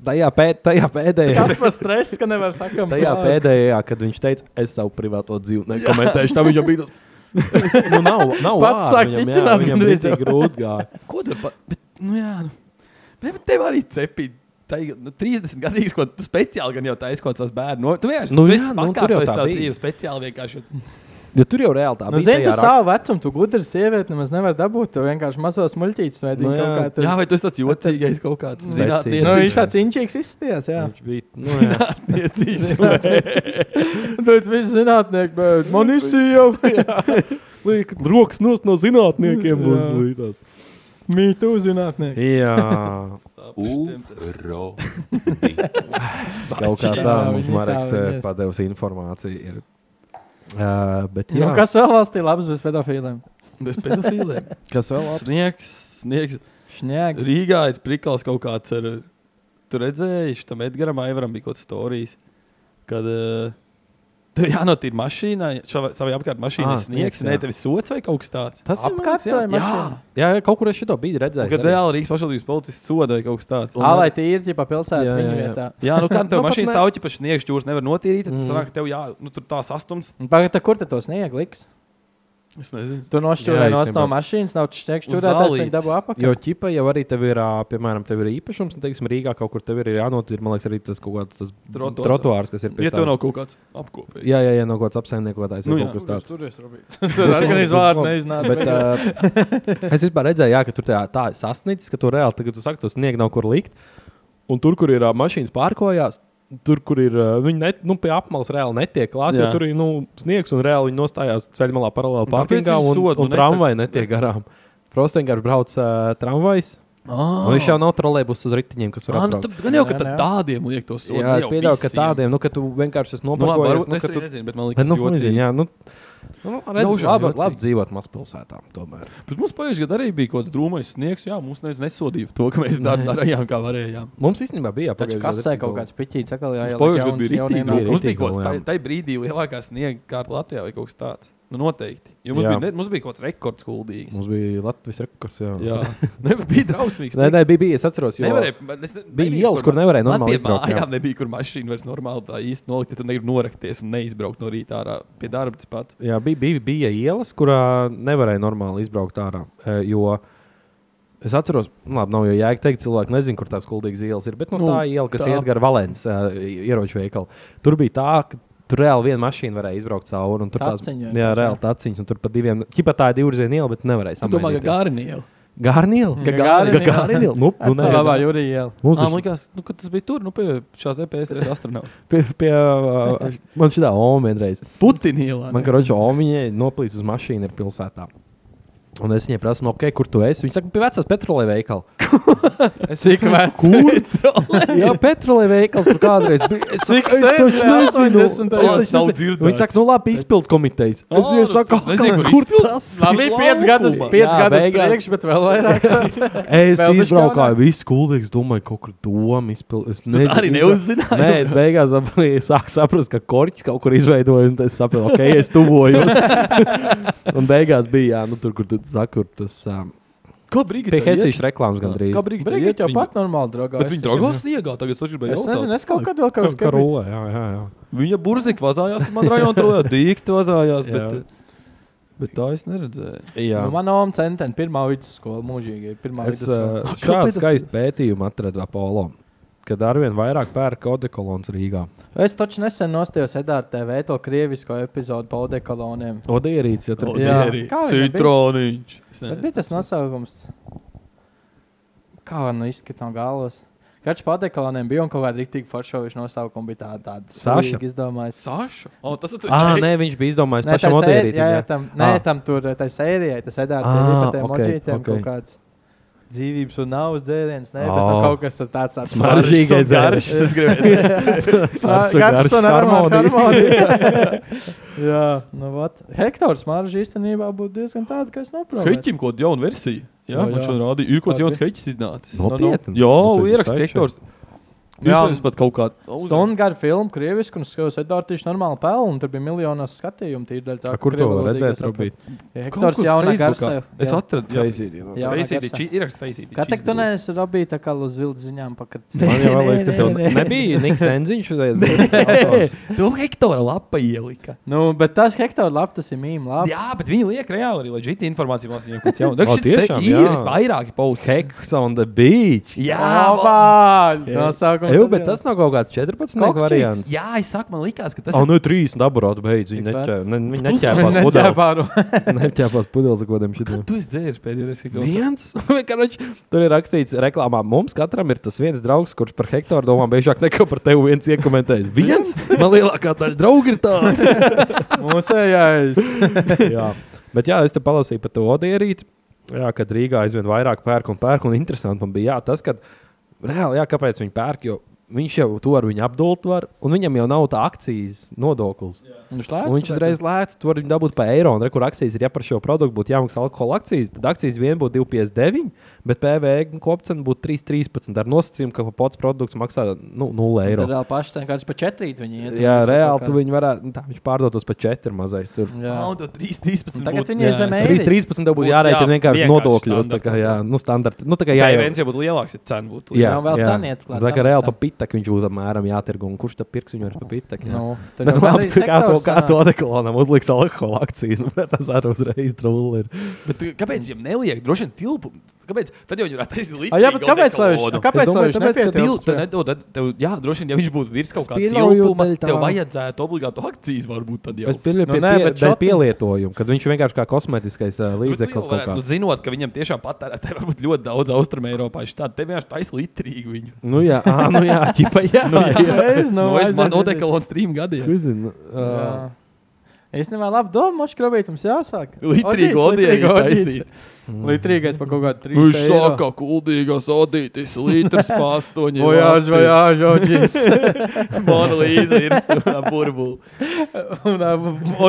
Tajā, pēd, tajā pēdējā.
Tas par stresu, ka nevar sakām.
Tajā pēdējā, kad viņš teica, es savu privāto dzīvi nekomentēšu, tam viņam bija tas. nu, nav, nav
Pats sāk
vārdu viņam, jā,
ķiķināt
viņam
gandrīz
bija
jau.
grūti gāja.
Ko tur pat? Bet, nu, jā, nu. Bet, bet tev arī cepīja. Tā ir nu, 30 gadus, ko tu speciāli gan jau taisīji, ko tas bērns. Nu, tu vienkārši
Nu
nu,
jā,
jā,
nu,
nu,
tur jau
pakāpies
tā
savā
bija.
dzīvē, speciāli vienkārši.
Jo tur jau reāli tā
Nu,
bija.
zini,
tajā
tu
rakstā.
savu vecumu, tu gudri sievieti nemaz nevar dabūt. Tu vienkārši mazos muļķītes veidi
Nu,
nu, kaut
jā.
kā tur.
Jā, vai tas tāds jocīgais kaut kāds
Vecīgs.
Nu,
zinātniecīgs?
viņš tāds inčīgs izstājās, jā.
Viņš bija. Nu, jā.
Tad viss zinātnieki, bet man izsījām.
Liek, rokas nost no zinātniekiem.
Jā.
uzlītās.
Mītu zinātnieki.
Jā,
Uro.
kaut kā tā
Jā,
mums
viņi
Marks
tā viņi ir.
padevis informāciju. Ir. Uh, bet, jā,
Nu, kas vēl valstī labs bez pedofīliem?
Bez pedofīliem.
kas vēl
Sniegs, sniegs.
Šņēgi.
Rīgā ir prikals kaut kāds ar, tu redzēji, tam Edgaram Aivaram bija kaut kāds stāstījis, kad uh, tev jānotīra mašīnā, šava- savai apkārt mašīnai
Ah,
ah,
sniegs,
sniegs, nē,
jā.
tev ir sots vai kaut kas tāds.
Tas ir
Apkārt vai mašīna?
Jā, jā, kaut kur es šo biju
Un
redzējis.
Kad
arī.
reāli Rīgas pašvaldības policists soda vai kaut kas tāds.
Ā, lai tie ir ģipa pilsēta
Jā,
viņa
jā, jā.
vietā.
Jā, nu kā tev
Nu, pat
mašīnas
ne.
tauķi pa sniegšķi jūras nevar notīrīt, tad
Mm.
mm. sanāk, tev jā, nu tur tā sastums.
Un Pagaid, tā kur te tos niegliks?
Es nezinu.
Tu
Jā,
nošķūrēji nost no
īstenībā.
mašīnas, nav šķiekšķi
Uz
čurētājs,
zālītes.
viņi dabū apakaļ.
Jo ķipa jau arī tev ir, ā, piemēram, tev ir īpašums, un, teiksim, Rīgā kaut kur tev ir jānotur, man liekas, arī tas kaut kāds tas
Trotuārs.
trotuārs, kas ir pie
Ja tev
tā.
nav kaut kāds apkopējis.
Jā, jā, jā, no kaut kāds apsaimniekotājs
Nu
vai
jā.
kaut kas tāds.
Tur es robīju. Tur arī vārdu neiznāca.
Bet, uh, es vispār redzēju, jā, ka tur tā, tā ir sasniedzis, ka tur reāli tagad, tu saki, to sniegu nav kur likt. Un tur, kur ir uh, mašīnas pārkojās, tur, kur ir uh, viņi net, nu, pie apmales reāli netiek klāti, jo
Jā.
tur ir nu, sniegs un reāli viņi nostājās ceļmalā paralēli
Un kāpēc
pārpingā
viņi
un,
sod, nu,
un
ne?
tramvai netiek garām. Prosti vienkārši brauc uh, tramvajs.
Ah,
Oh. Viņš jau nav trolēļus uz riteņiem, kas var
Ah, nu,
atbraukt.
tad, gan jau, ka
Nē,
tad
nē.
tādiem liek to sodu.
Jā,
ne
es
jau
pieļauju, ka
visiem.
tādiem, nu, ka tu vienkārši esi
Nu, labi,
nopakojies.
varbūt
Nu,
nu,
ka tu-
es arī nezinu, bet man
Bet,
liekas,
nu,
ka tas
nezinu,
ir.
jā, nu, nu, redz,
Daužām
labi,
jocīgi.
labi dzīvot mazpilsētām. Tomēr.
Bet mums pagājušajā gadā arī bija kaut kāds drūmais sniegs. Jā, mums neviens nesodīja to, ka mēs dar, darījām, kā varējām.
Mums īstenībā bija
Taču
jāpagaida.
kasē kaut kāds piķīts, atkal jā, jā.
Pagājušajā gadā bija rītīgi.
nāk.
drūmi.
nu.
Mums bija
Rītīgi
kaut
vēl,
kas
jā.
tāds, tai brīdī lielākā sniega kārta Latvijā vai kaut kas tāds. Nu, noteikti. Jo mums
Jā.
bija, ne, mums bija kaut kāds rekords kuldīgs.
Mums bija Latvijas rekords. Jā,
Jā, ne, bet bija drausmīgs.
Nē, nē, bija, bija. Es atceros, jo
Nevarēja, es ne,
bija
nebija,
ielas, kur nevarēja
Man
normāli
pie
izbraukt, jā.
Mājām nebija, kur mašīna vairs normāli tā īsti nolikt, ja tu negribi norakties un neizbraukt no rīta ārā pie darba. Tas pats.
Jā, bija, bija, bija ielas, kurā nevarēja normāli izbraukt ārā. e, Jo es atceros, nu, labi, nav jau jēga teikt, cilvēki nezina, kur tās kuldīgas ielas ir. Bet nu,
Nu,
tā iela, kas
tā.
iet gar Valēnas ieroču veikalu, tur bija tā, ka tur reāli viena mašīna varēja izbraukt cauri. un Tur
Taciņi
jā,
vienkārši,
reāli tāciņas, un tur pa diviem, ķipa tā ir divvirziena iela, bet nevarēja
Tu domā,
samainīt.
ka Gārnīla.
Gārniela?
Gagarina.
Gārniela. Nu, nu, nē.
Labā jūrija.
Mums
Man
ir
liekas, nu, ka tas bija tur, nu, pie šās EPS astronauta.
pie, pie uh, man šitā oma vienreiz.
Putinīlā.
Man karoči Omiņai noplīs uz mašīnu ir pilsētā. Un es viņai prasu, no ok, kur tu esi? Viņa saka, pie vecās petrolē veikala. es saku, kur? Jā, petrolē veikals tur kādreiz bija. Es
Cik sen?
saku, es taču
Jā,
nezinu. Es
80.
Es nav
taču nezinu.
dzirdēts.
Viņa saka, nu labi, izpildu komitejas. Es
Ā,
viņai
nu,
saku,
tu nezini, kur
kur tas
Labi,
Cik
piecus gadus,
laukuma?
piec
Jā,
gadus
beigās.
priekš, bet vēl vairāk.
Es
Vēl bez
izbraukāju,
kaunā?
viss kuldīgs, domāju, kaut kur doma izpildīt.
arī neuzzināji?
Nē, es beigās sap- sāku saprast, ka korķis kaut kur izveidoja, un tad es sapratu, ok, es tuvojos. un beigās bija, jā, nu, tur, kur tu saki, kur tas um,
Kā brīdī?
pie Helsīšu reklāmas gandrīz.
Kā brīdī?
Brīdī jau pat normāli draugā.
Bet viņa draugā sniegā tagad es gribēju.
Es nezinu,
jautāt.
es kaut kad vēl kaut
Kas
kas
kā
tādu
rulē, jā, jā, jā.
Viņa burzik vazājās, man rajonā tur jau dīkti vazājās,
Jā.
bet, bet tā es neredzēju.
jā.
Nu, Manā mamā centenā pirmā vidusskola mūžīgi. Pirmā
Es
vidusskola.
uh, šādu skaistu pētījumu atradu Apollo, kad arvien vairāk pērk odekolons Rīgā.
Es taču nesen nostājos Edgars TV to krievisko epizodu par odekoloniem.
Odierīts, ja tur
Ode- Jā. Kā viņam bija?
citroniņš. Es
Bet
nezinu.
bija tas nosaukums. Kā nu izskatās no galvas? Kačs par odekoloniem bija un kaut kāda rīktīva foršoviša nosaukuma bija tāda. tāda
Saša?
sūdīga izdomājis.
Saša? O, tas ir tas
Ah,
čei-
nē, viņš bija izdomājis
Nē, tai
pašam
sēri-
odierītam.
jā, jā, tam, nē,
Ah.
tam tur tai sērijai, tas Edgars TV
Ah,
par tiem
ok,
močītiem
ok.
kaut kāds. Dzīvības un naudas dzēriens, nē, bet
Oh.
nu, kaut kas ar tāds tāds
Smaržīgais
garš. Es gribēju.
Ar su
Garš
garšu
un
harmoniju.
harmonija. Jā, nu vat. Hektors marža īstenībā būtu diezgan tāda, ka es noprotu.
Heķim kaut kāda jauna versija. Jā,
O,
man
jā.
šodien rādīja. Ir kaut kāds
Labi.
jauns heķis iznācis. Nu,
Nopietni.
Jā,
Tas ir
ieraksts
sveši.
hektors.
Jā.
Jā, mums pat kaut kāda.
Stundu garu filmu, krievisku, un es skatos, Edvards, normāli pelnu, un tur bija miljonos skatījumu, tīri dēļ tā.
A, Kur to var redzēt? Rubīt?
Hektors jaunā garsē.
Es
jā.
atradu.
Jaunā
Feisīti,
garsā.
čī- ieraksts Feisīti.
Kā teikt, tu neesi Robīts, tā kā uz vilnas ziņām pakats.
Man jau liekas, ka tev nebija Niks Enziņš. Viņš
To Nu, Hektora lapa ielika.
Nu, bet tas Hektora labi, tas ir mīm labi.
Jā, bet viņi liek reāli arī leģitīvi informāciju. Mums viņam kaut kas jauns.
O,
Tas
tiešām,
ir
jā.
vairāki pausti.
Heks on the beach.
Jā,
Opa! Nosaukums nākamais.
Eju, bet tas nav kaut kāds 14.
Kokčiks.
variants.
Jā, es saku, man likās, ka tas
Ah,
ir.
nu, trīs daburāti beidz. Viņi
Tik tā.
neķē- ne- viņi
Neķēpās
neķēpās pudeles. Neķēpās pudeles ar kodiem šitiem.
Tu esi dzēries pēdējo reizi, kad kaut
Viens, vienkārši tur ir rakstīts, reklāmā mums katram ir tas viens draugs, kurš par hektāru domā biežāk nekā par tevi viens iekomentējis. Viens, man lielākā daļa draugu ir tāds.
Mūsējais.
jā. Bet jā, es te palasīju par to odierīti, jā, kad Rīgā aizvien vairāk pērk un pērk, un interesanti man bija jā, tas, ka reāli, jā, kāpēc viņi pērk, jo viņš jau to ar viņu apdult var, un viņam jau nav tā akcijas nodoklis.
Nu, Viņš
Un viņš uzreiz lēca, to var viņu dabūt par eiro. Un re, kur akcijas ir, ja par šo produktu būtu jāmaksā alkohola akcijas, tad akcijas vien būtu 2,59, bet PVE kopcena būtu 3,13 ar nosacījumu, ka pats produkts maksā nu, 0 eiro.
Reāli paši tā kāds pa četrīt viņi iet.
Jā,
Mēs
reāli
kaut
tu
kā-
viņu varētu, nu, tā viņš pārdotos par 4 mazais. Tur.
Jā.
Nav to 3, 13.
Un tagad viņi ir zem eiro.
3,13 tev būtu
Būtu
jārēķina
jā,
vienkārši
vienkārši
nodokļos. Tā
standarta.
kā, jā, nu, standarta. Nu, tā kā
Jā,
jā,
ja
jau
viens jau būtu lielāks, ja cena būtu
Jā,
lielāka.
Nav vēl
jā.
ceniet klāt,
Tā kā
tam
reāli
visam.
pa pitaku viņš būtu apmēram jātirgo. Un kurš tad pirks viņu ar pa pitaku? jā?
Nu, tad
Bet
jau
labi,
gandrīz
tu kā to,
sektors
kā
sanāk.
to dekolonam uzliks alkohola akcijas, nu, tas arī uzreiz trūli ir.
Bet tu- kāpēc viņam neliek droši vien tilpu? Kāpēj? Tad jau viņi varētu taisīt līdzi.
A, jā, bet kāpēc lai viņš, kāpēc lai
domāju,
viņš
tāpēc, ka
nepietilps?
Tad nedod, tad tev, jā, droši vien, ja viņš būtu virs kaut
Es
kāda
pieļauju,
tilpuma,
daļa tā.
tev vajadzētu obligātu akcijas varbūt tad jau.
Es pieņemu,
Nu,
ka
nē,
tas ir
bet
tikai
šotiņš-
pielietojums, kad viņš vienkārši kā kosmētiskais ā,
Nu, bet tu
līdzeklis
jau
kaut
varētu,
kā.
nu, zinot, ka viņam tiešām patērētāji varbūt ļoti daudz austrumēropā ir tādi. Tev vienkārši taisa litrīgi viņu.
Nu jā, ā, nu jā, ķipa, jā. nu, jā.
Reiz,
Nu,
nu,
no, es
aiziet
man
līdz-
odekalons trim gadiem.
Uzin, uh,
Jā. Es nemēju labi domu, Mošs Krabīt, mums jāsāk.
Litrīgi odieri taisīt.
Litrīgais par kaut kādu trīs.
Viņš
eiro.
saka, kuldīgas odītis, litrs pārstoņi.
Vojāž, vojāž, oģis.
Man līdzi ir burbuli.
Un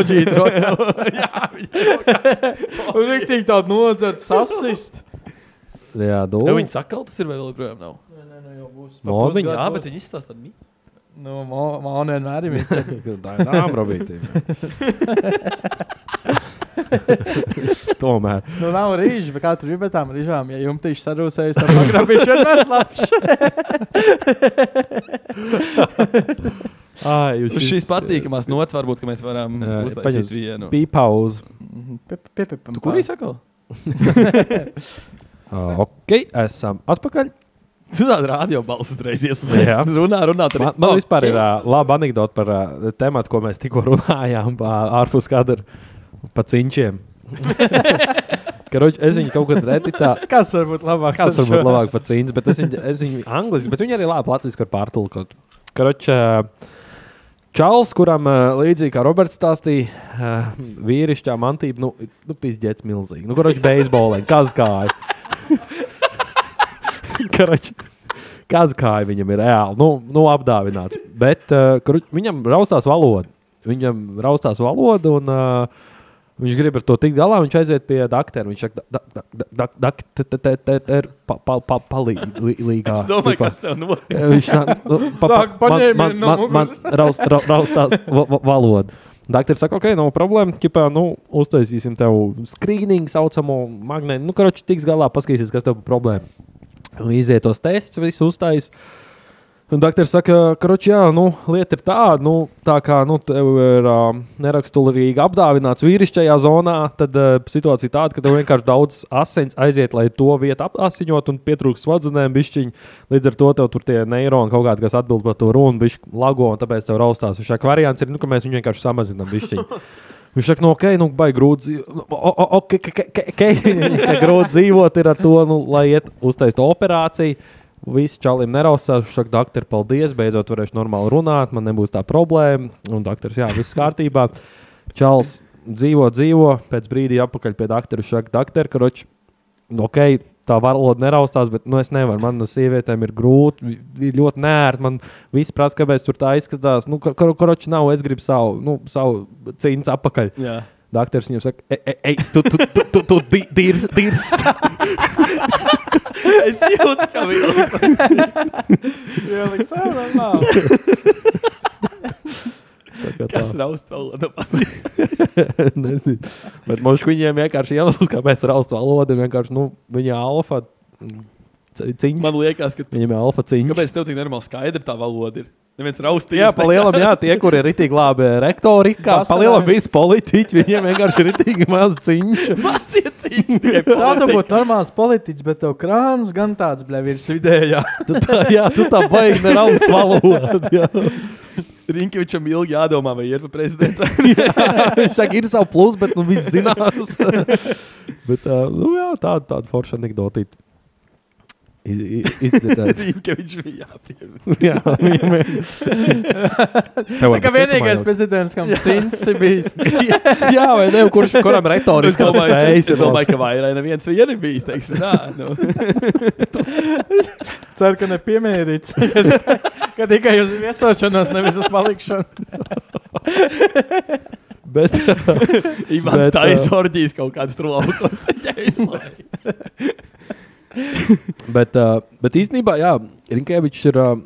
oģīt rotās. Un riktīgi tādu nodzert sasist.
jā,
Nu,
dūmu.
viņa sakaltus ir vai vēl joprojām nav.
Modiņa.
Jā, bet viņi izstāsta tādu mītu.
Nu, ma- man vienmēr ir.
Tā ir tā brīvība. Tomēr.
Nu, nav rīža, bet katru dienu tam rīžām, ja jums tieši sarūsējas, tad pagrabīšu vienmēr slapšu.
Ai, jūs
Šīs patīkamās nots varbūt, ka mēs varam
Jā,
uztaisīt
paņems.
vienu.
bija pauze.
Tu kur īsi sakal?
Uh, ok, esam atpakaļ.
Tu tādu radio balsu uzreiz
Jā.
iesaistīji. Runā, runā. tad
Man,
ir-
man
Oh,
vispār ir
Dievs.
uh, laba anekdote par uh, tēmu, ko mēs tikko runājām, uh, ārpus kadra par cīņķiem. Karoči, es viņu kaut kad redzu.
Kas var būt labāk?
Kāds varbūt labāk par cīņas, bet es viņu, es viņu angliski, bet viņi arī labi latviešu var pārtulkot. Karoči, eh, Čāls, kuram ā, līdzīgi kā Roberts stāstīja, ā, vīrišķā mantība, nu, nu pizdzēts milzīgi. Nu, karoči, beisbolē, kāds kāja. karoči, kāds kāja viņam ir reāli, nu, nu apdāvināts. Bet ā, karoči, viņam raustās valoda. Viņam raustās valoda un uh, Viņš grib ar to tikt galā, viņš aiziet pie doktora. Viņš saka, doktor, palīdzīgā.
Es domāju, kas tev notiek.
Viņš nāk- nu, pa- pa-
Sāk paņēmienu
man-
no
man- man- man
muguras.
raust- ra- Raustās va- va- valoda. Dakteris saka, ok, nav problēma. Ķipā, nu, uztaisīsim tev skrīningu, saucamo magnētu. Nu, karoči, tiks galā, paskatīsies, kas tev ir problēma. Un Iziet tos tests, visu uztaisīt. Un dakteris saka, ka nu, lieta ir tāda, nu, tā kā nu, tev ir uh, neraksturīgi apdāvināts vīrišķajā zonā, tad uh, situācija tāda, ka tev vienkārši daudz asins aiziet, lai to vietu apasiņot un pietrūkst smadzenēm, bišķiņ. Līdz ar to tev tur tie neironi kaut kādi, kas atbild par to runu, bišķi lago, un tāpēc tev raustās. Šā variants ir, nu, ka mēs viņu vienkārši samazinām bišķiņ. Viņš saka, no ok, nu, vai grūti dzīvot. Ok, ka- ka- ka- ka- ka grūti dzīvot ir ar to, nu, lai iet uztaisīt operāciju. Visi čalim nerausās. Viņš saka, doktor, paldies. Beidzot, varēšu normāli runāt. Man nebūs tā problēma. Un doktors, jā, viss kārtībā. Čals dzīvo, dzīvo. Pēc brīdi apakaļ pie doktora. Viņš saka, doktor, karoči, ok, tā valoda neraustās, bet nu, es nevaru. Man no sievietēm ir grūti, vi- ir ļoti nērti. Man viss prasa, kāpēc tur tā izskatās. Nu, kar karoči nav, es gribu savu, nu, savu cīņas apakaļ.
Jā.
Dakteris viņam saka, "Ei, ej, ej, tu, tu, tu, tu, tu di- dirs, dirs.
Es jūtu, ka viņš ir.
Tā kā
Kas
tā.
raust vēl no pasaules?
Nezinu. Bet mums viņiem vienkārši iemesls, kāpēc raust valodu, ir vienkārši, nu, viņa alfa c- ciņš.
Man liekas, ka tu.
Viņam ir alfa ciņš.
Kāpēc tev tik normāli skaidra tā valoda ir? Neviens raustījis.
Jā, pa lielam, jā, tie, kur ir itī labi rektori, kā pa
Bastardi.
lielam visi politiķi, viņiem vienkārši ir itī maz ciņš.
Tā tu būtu normāls politiķis, bet tev krāns gan tāds, bļa, virs vidējā.
Tu tā, jā, tu tā baigi neraust valodu. jā.
Rinkevičam ilgi jādomā, vai ir pa prezidentam.
Viņš saka, ir savu plusu, bet nu viss zinās. bet, uh, nu jā, tāda, tāda forša anekdotīta. Iz, iz, izdzirdēts.
Rinkevičam bija jāpiemina.
jā, viņam ir.
Tā kā vienīgais prezidents, kam cīns ir bijis.
Jā, vai ne? Kurš kuram
Es
retoriski
domāju,
spējas
es,
ir
es domāju, ka vairāk neviens vien ir bijis. Teiksim, tā, nu.
Ceru, ka nepiemērīts. Ka tikai uz viesošanos, nevis uz palikšanu.
Bet,
Imants
Bet,
tā ir
ā,
sorģijas kaut kāds trūkums.
Bet, uh, bet īstenībā, jā, Rinkēvičs ir uh,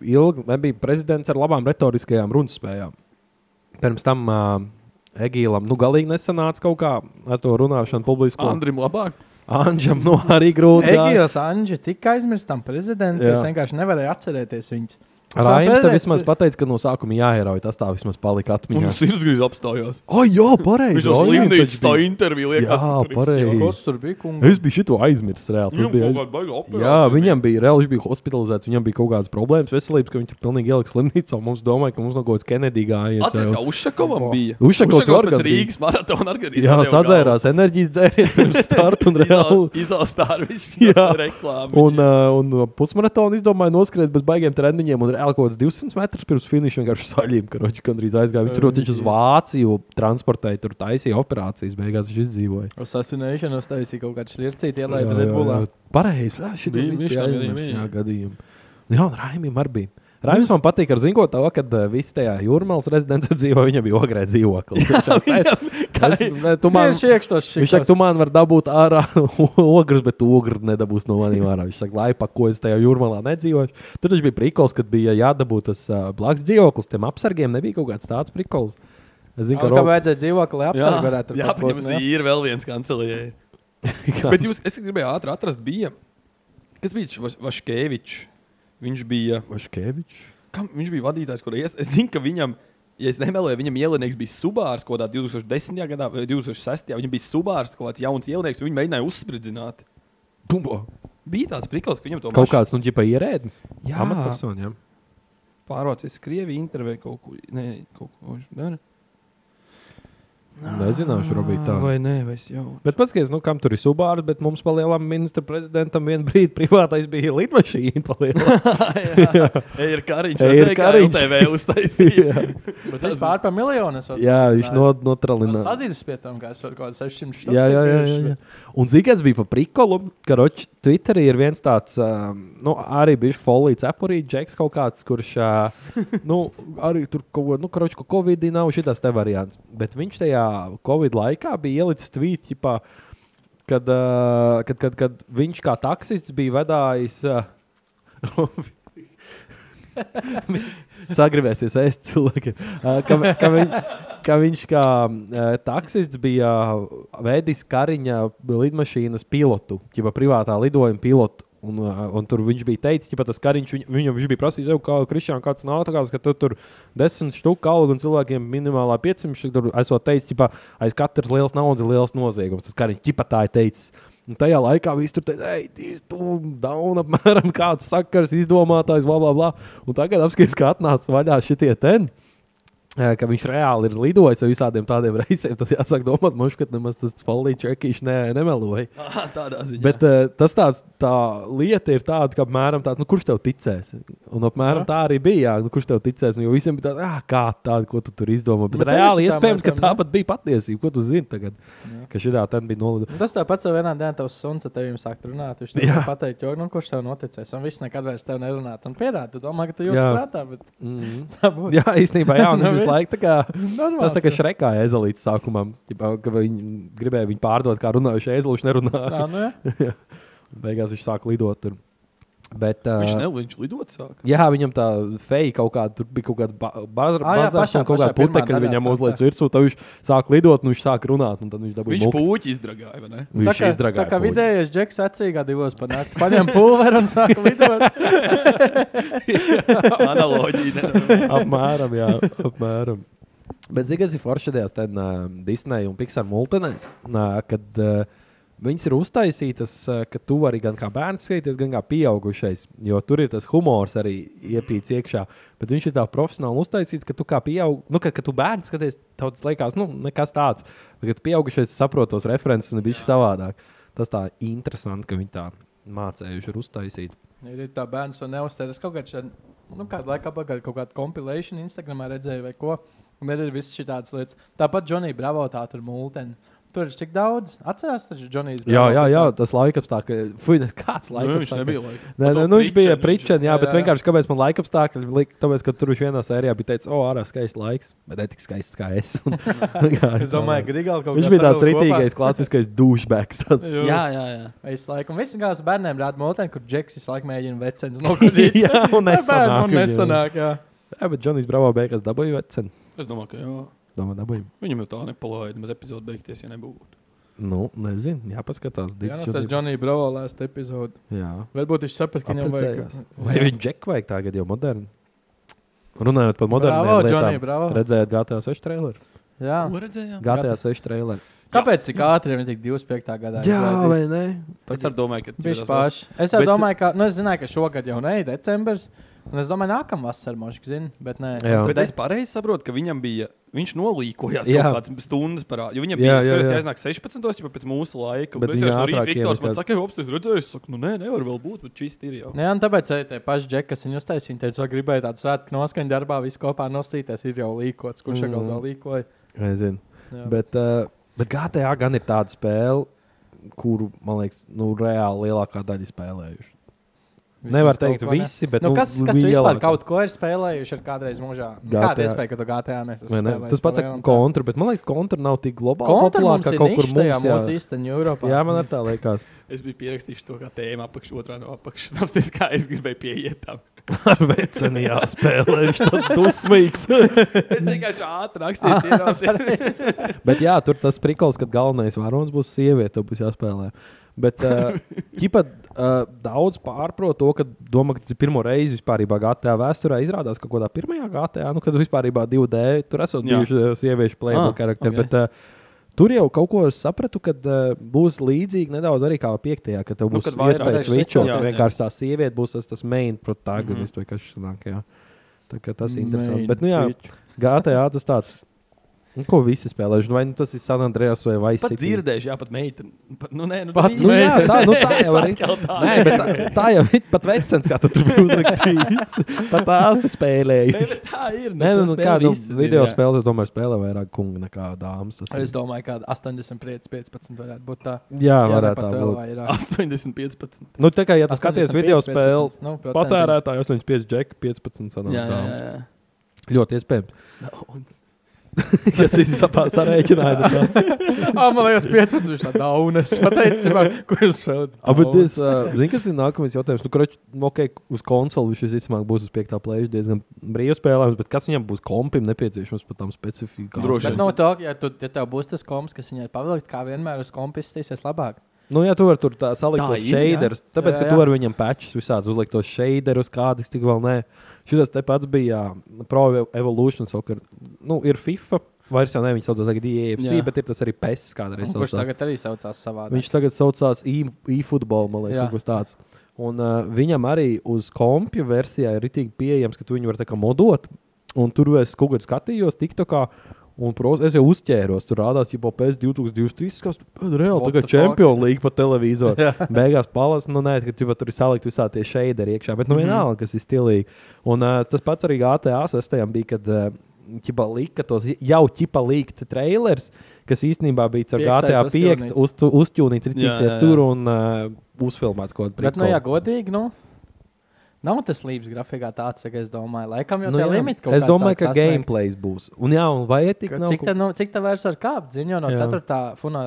ilgi nebija prezidents ar labām retoriskajām runas spējām. Pirms tam uh, Egīlam nu, galīgi nesanāca kaut kā ar to runāšanu publisko.
Andrim labāk.
Andžam nu, arī grūti. jā.
Egils Anģis tika aizmirsts tam prezidentam.
Jā.
Es vienkārši nevarēju atcerēties viņus.
Raims tam vismaz pateica, ka no sākuma jāierauj. Tas tā vismaz palika
Un
atmiņā.
sirdsgrīz apstājās.
Ai, jā, pareizi.
Viņš jau
Raims
slimnīcā
taču
tā
bija.
intervija liekas.
Jā,
ka tur viss jau-
pareizi.
Kas tur bija? kungi?
Es biju šito aizmirsis reāli. Tur
Viņam
bija
kaut kāda baiga operācija
Jā,
bija.
viņam bija reāli, viņš bija hospitalizēts, viņam bija kaut kādas problēmas veselības, ka viņš ir pilnīgi ieliks slimnīcā. un Mums domāja, ka mums no kaut kādas Kenedijas
Atceries,
gājas.
kā Ušakovam bija.
Ušakovs
Ušakovs
organ
pēc
bija.
Rīgas maratona organizēja.
Jā, sadzērās enerģijas dzērienu pirms starta un reāli.
Izāstāra viņš
Jā.
reklāmu.
Un, uh, un pusmaratonu izdomāja noskriet bez baigiem treniņiem, un reāli kaut kāds 200 metrus pirms finiša vienkārši saļīm, ka roķi gandrīz aizgāja. Viņš rotiņš uz Vāciju transportēja, tur taisīja operācijas, beigās viņš izdzīvoja.
Uz asinēšanos taisīja kaut kādu šķircīti,
Jā,
ielaida
jā,
redbulā.
jā. Pareizi. Jā, šī
Bija-
bija
viņš
vispār
tam arī
aizmirsts,
bija.
jā, gadījumi. Jā, un Raimim arī bija. Raims man patīk ar zinko tā, kad uh, viss tajā jūrmālas rezidencē dzīvo, viņam bija ogrē dzīvoklis. Viņš tāds, "Es- es- ne, tu man-
Tieši iekštos
Viņš saka,
šķircīti.
tu man var dabūt ārā ogres, bet tu ogres nedabūs no maniem ārā. Viņš saka, lai pa ko es tajā jūrmalā nedzīvoju. Tur taču bija prikols, kad bija jādabū tas uh, blakus dzīvoklis. Tiem apsargiem nebija kaut kāds tāds prikols. Es zinu, ka
Kā
Rob-
vajadzēja dzīvokli, lai
Jā,
apsargātu?
jā viņam ir vēl viens kancelējs.
kā-
Bet jūs, es gribēju ātri atrast, bija. Kas bija Vaš- Vaškēvičs? Viņš bija.
Vaškevičs.
Kam, viņš bija vadītājs, kur iest. Es zinu, ka viņam, ja es nemeloju, viņam ielinieks bija subārs kaut kādā 2010. gadā vai 2006. Viņam bija subārs kaut kāds jauns ielinieks, un viņi mēģināja uzspridzināt.
Tumbo.
Bija tāds prikals, ka viņam to
Kaut kāds, nu, ģipa ierēdnis.
Jā.
Amatpersona, jā.
pārvācies Krievijā, intervēja kaut ko. Nē, kaut ko viņš dara.
Nezināšu, Robīt, tā.
Vai nē, vai es jau.
Bet paskatieties, nu, kam tur ir subārs, bet mums palielam ministra prezidentam vienu brīdi privātais bija lidmašīna. palielā.
jā, ir kariņš.
Ej, ir
redzēja, kā
kariņš.
LTV uztaisīja.
Tas pārpār miljonus.
jā, viņš not, notralināja.
Sadīrs pie tam, kā es varu kaut kādu 600 štus.
Jā, jā, jā, jā, jā. Un zina, kas bija pa prikolu, ka Ročs Twitterī ir viens tāds, um, nu, arī bijis folijas cepurīte, Džeks kaut kāds, kurš, uh, nu, arī tur kaut ko, nu, karoči, ka Covid nav šitās te variants. Bet viņš tajā Covid laikā bija ielicis tvīt, ķipā, kad, uh, kad, kad, kad viņš kā taksists bija vedājis. Uh, Sagribēsies ēst cilvēkiem. Uh, Ka, ka, viņ, ka viņš kā uh, taksists bija uh, veidojis kariņa lidmašīnas pilotu, jau privātā lidojuma pilotu. Un, uh, un tur viņš bija teicis, ka tas kariņš viņ, viņam viņš bija prasījis, jau kā Kristiāna, kāds nav tāds, ka tu tur desmit stūku algu un cilvēkiem minimālā 500. šķiet, Tur esot teicis, ka aiz katras liels naudas ir liels noziegums. Tas kariņš ķipa tā ir teicis. Un tajā laikā viss tur bija, ej, tīrs, tu daun, apmēram kāds sakars, izdomātājs, bla, bla, bla. Un tagad apskatīsim, kā atnāca vaļā šitie ten. eh, Ka viņš reāli ir lidojis ar visādiem tādiem reisiem, tas jāsaka, domāt, mums, ka nemaz tas polīčs čekīšs ne, nemeloja.
Ā, Ah, Tādā ziņā.
Bet uh, tas tāds, tā lieta ir tāda, ka apmēram tāds, nu, kurš tev ticēs? Un apmēram tā arī bija, jā, nu, kurš tev ticēs? Un Jo visiem bija tāds, ah, kā tāda, ko tu tur izdomā.
Bet
Bet, Bet
tev
reāli
ir šitā
iespējams, ka
mēs tam,
Nu, tā pat bija patiesība, ko tu zini tagad, ka šī tā bija nolidota.
Un Nu, Tas tāpat jau vienā dienā tavs suns ar tevi sāk runāt. Viņš
Jā.
tev pateiks, jo nu, kurš tev noticēs. Un viss nekad vairs tev nerunā. Un pierāda, tu domā, ka tu jūti
Jā.
prātā. Bet
Mm.
tā būtu.
Jā, īstenībā, jā, un
Nu,
viņš visu
viss. Nu,
laiku tā kā.
Normāls,
Tas tā kā
jā.
šrekā ezelīte sākumā, tipā, ka viņi gribēja viņu pārdot, kā runājuši ezeli, viņš nerunāja.
Tā, nu, jā.
Beigās viņš sāk lidot tur. Bet, uh,
Viņš neliņš lidot sāk.
Jā, viņam tā feja kaut kāda, tur bija kaut kāda ba
Ā,
bazar,
jā,
bazars
pašā-
un kaut
pašā
kāda putekļa
pirmā daļā
viņam
tā,
uzliec virsū, tad viņš sāk lidot, un viņš sāk runāt, un tad viņš dabūja
Viņš
muku.
pūķi izdragāja, vai ne?
Viņš
tā
izdragāja.
kā
puķi.
vidējais džeks vecrīgā divos panākt. Paņem pulveru un sāk lidot.
Analoģija. nenormāla.
apmēram, jā, apmēram. Bet zini, kas ir forši šajās ten, uh, Disneja un Pixar multinēs, uh, kad uh, viņas ir uztaisītas, uh, ka tu vari gan kā bērns skatīties, gan kā pieaugušais, jo tur ir tas humors arī iepīts iekšā. Bet viņš ir tā profesionāli uztaisīts, ka tu kā pieaug, nu, ka, ka tu bērns skaties, tev tas liekas, nu, nekas tāds. Bet, kad tu pieaugušais saproti tos references un ir bijis savādāk, tas tā interesanti, ka viņi tā mācējuši ir uztaisīt.
Ir ir tā bērns un neuzsēras kaut kādā šeit, nu, kādu laiku apakaļ kaut kādu kompilēšanu Instagramā redzēju vai ko. Un ir ir visas šīs lietas. Tāpat Džonija Bravo tā tur mūlteni. Tur ir tik daudz. Atcerās, tas ir Džonijs Bravo.
Jā, jā, jā, tas laikapstākļi. Fui, kāds
Nu,
laikapstākļi?
Viņš nebija laika.
Nē,
Par
nē,
to
nu, viņš bija
viņš-
pričs, jā, bet
jā.
vienkārši kāpēc man laika apstākļi lika, tāpēc, ka tur viņš vienā sērijā bija teicis, o, ārā skaists laiks, bet ne tik skaists kā es. Un, vienkārši
Es domāju, ka Grigāla kaut kā
viņš bija tāds
sadala kopā.
rītīgais, klasiskais douchebags. tāds.
Jā, jā, jā.
Es laikam visam gala bērniem rādu mūteni, kur džeks visu laiku mēģina vecens nokrīt.
Jā, un
Ar bērnu
nesanāk.
un nesanāk. Jā.
Jā, bet Džonijs Bravo beigās dabūja vecenu.
Es domāju, ka jā.
Domāju, dabūja.
Viņam jau tā nepalaida. Mēs epizodē beigties, ja nebūtu.
Nu, nezinu, jāpaskatās. Dick
Jā, nu, tas ir
Johnny-
Džonija Bravo last epizode.
Jā,
Varbūt viņš saprata, ka viņam vajag.
aprecējās. Vai viņam džeku vajag tagad jau modernu? Runājot par
Bravo,
modernu,
Džonija Bravo.
redzējāt GTA 6 traileru.
Jā.
Ko redzējām?
GTA 6 traileru.
Kāpēc tik ātri viņam tik 25. gadā?
Jā, vai
izlaidīs?
ne?
Es arī domāju, ka
Viņš
tas
pašs. Es jau
Bet-
domāju, ka, nu, es zināju, ka šogad jau ne ir decembris. Un es domāju, nākamā vasarā mūžīgi zinu, bet nē.
Jā.
Bet es pareizi saprotu, ka viņam bija. Viņš nolīkojās
Jā.
jā. kaut kādas stundas parā. Jo viņam bija
Jā, jā,
jāatcerās,
jā.
ka jāiznāk 16. jau pēc mūsu laika.
Bet
Bet es
viņa
jau no rīta
ātrāk
Viktors man
ielika.
saka, ka apstāties redzēju. Es saku, nu nē, nevar vēl būt, bet šis ir jau.
Nē, un tāpēc arī tie paši džekļi, kas viņu uztaisīja, viņi teica, ka gribēja tādu svētku noskaņu darbā, visu kopā nostīties. Ir jau līkots, kurš jau
Mm.
galvā līkoja.
Nezinu.
Jā.
Bet, uh, bet GTA gan ir tāda spēle, kuru, man liekas, nu, reāli lielākā daļa spēlējuši.
Vismaz
Nevar
kaut
teikt
ko, ne?
visi, bet
Nu,
nu,
kas, kas
lielākā.
vispār kaut ko ir spēlējuši ar kādreiz mūžā? Nu,
GTA.
Kāda iespēja, ka tu GTA
Vai ne?
nesaspēlēji?
Tas pats ar kontru, bet man liekas, kontra nav tik globāla.
Kontra
populāra,
mums ir kaut kur mums,
jā.
mūsu īstenībā Eiropā.
jā, man ar tā liekas.
Es biju pierakstījis to kā tēmu apakšā, otrā no apakšas. Tāpēc, kā es gribēju pieiet tam.
Ar vecenajā spēlē viņš tāds dusmīgs.
Es vienkārši ātri rakstīju,
bet jā, tur tas prikols, kad galvenais varonis būs sieviete, tev būs jāspēlē. Bet uh, ķipa, uh, daudz pārprot to, ka domā, ka tas ir pirmo reizi vispār GTA vēsturē. Izrādās, ka kaut kādā pirmajā GTA, nu, kad vispār bija 2D, tur esot
Jā.
bijuši ā, sieviešu playboy
Ah,
karakteri. Okay.
ok.
Bet, uh, Tur jau kaut ko es sapratu, ka uh, būs līdzīgi nedaudz arī kā piektajā, ka tev
Nu,
būs
kad
nu,
vairāk
iespēja
varēs
switchot.
sekoties, jā. Mhm.
Vienkārši tā sieviete būs tas, tas main protagonists mm -hmm. vai kas sanāk. Jā. Tā kā tas ir interesanti. Bet, nu, jā, GTA tas tāds. Nu, ko visi spēlējuši? Nu, vai nu, tas ir San Andreas vai Vaisas?
Pat dzirdējuši, jā, pat meitene. Pat- Nu, nē, nu,
Pat
tā
Nu,
īsti-
jā, tā, nu, tā
Es
jau ir.
atkal tā.
Nē, bet tā, tā jau ir pat vecens, kā tu tur bija uzrakstījis. Pat tās
Nē,
spēlēja.
bet tā ir.
Nē, nu, nu
to spēli
kādu
visi zina,
video
jā.
spēli, es domāju, spēlē vairāk kungu nekā dāmas. Tas
Es
ir.
domāju, ka 85, 15 varētu būt tā.
Jā,
Ja ne
varētu
pat
tā
vēl
būt.
vairāk.
80, 15.
Nu, tā kā, ja tu skaties
85,
video spēli,
15, nu, procentiem.
patērētājs 85, džeki 15 sanāk dāmas. Ļoti iespējams. Kas ir sapā- sarēķinājums?
Ah, man liekas, 15 ir tāda dauna. Es pateicu, kur Nu, es šeit.
Abas zinu, kas ir nākamais jautājums. Nu, kurš okay, uz konsoli šis izcīmāk būs uz 5. plēša diezgan brīvi spēlējams, bet kas viņam būs kompim nepieciešams par tām specifikām?
Droši.
Bet no tā, ja, tu, ja tev būs tas koms, kas viņai ir pavilkt, kā vienmēr uz kompis stīsies labāk.
Nu, jā, tu vari tur tā salikt
Tā
tos
ir, jā.
shaderus. Tāpēc,
Jā,
ka
jā.
tu vari viņam patčus visādi uzlikt tos shaderus, kādus tik vēl nē. Šis te pats bija jā, Pro Ev- Evolution Soccer. Nu, ir FIFA, vairs jau ne viņi sauc tagad IEFC,
Jā.
bet ir tas arī PES kādreiz.
Un Kurš
saucās.
tagad arī saucās savādāk?
Viņš tagad saucās E- e-football, man liekas,
Jā.
kaut kas tāds. Un uh, viņam arī uz kompju versijā ir itī pieejams, ka tu viņu var tā kā modot. Un tur es kaut kādā skatījos, TikTokā. Un, pros, es jau uzķēros, tur rādās jau pēc 2023. gada, kad reāli
What the
tagad
fuck?
čempionu līnija pa televizoru. Beigās palas, nu, nē, ka tu, tur ir salikt visādi tie šeit arī iekšā, bet nu
Mhm.
vienalga, kas ir stilīgi. Un uh, tas pats arī GTA 6. bija, kad uh, ķipa lika tos jau ķipa līkta trailers, kas īstenībā bija ar
Piektais
GTA 5
uzķūnīts.
uztu- uzķūnīts arī
Jā, jā, jā.
tur un uh, uzfilmēts kaut
Bet, nu,
kāda
ja godīgi, nu, nav tas līdzīgs grafikā tāds, kā es domāju. Laikam jau
Nu,
tā
jā.
limita kaut
es
kāds
domāju,
sāk
ka
sasniegt.
gameplay būs. Un, jā, un vai ir tik
Ka
nav
Cik
kaut-
tā, nu, cik tā vairs var kāpt? Ziņo no
Jā.
4. funā.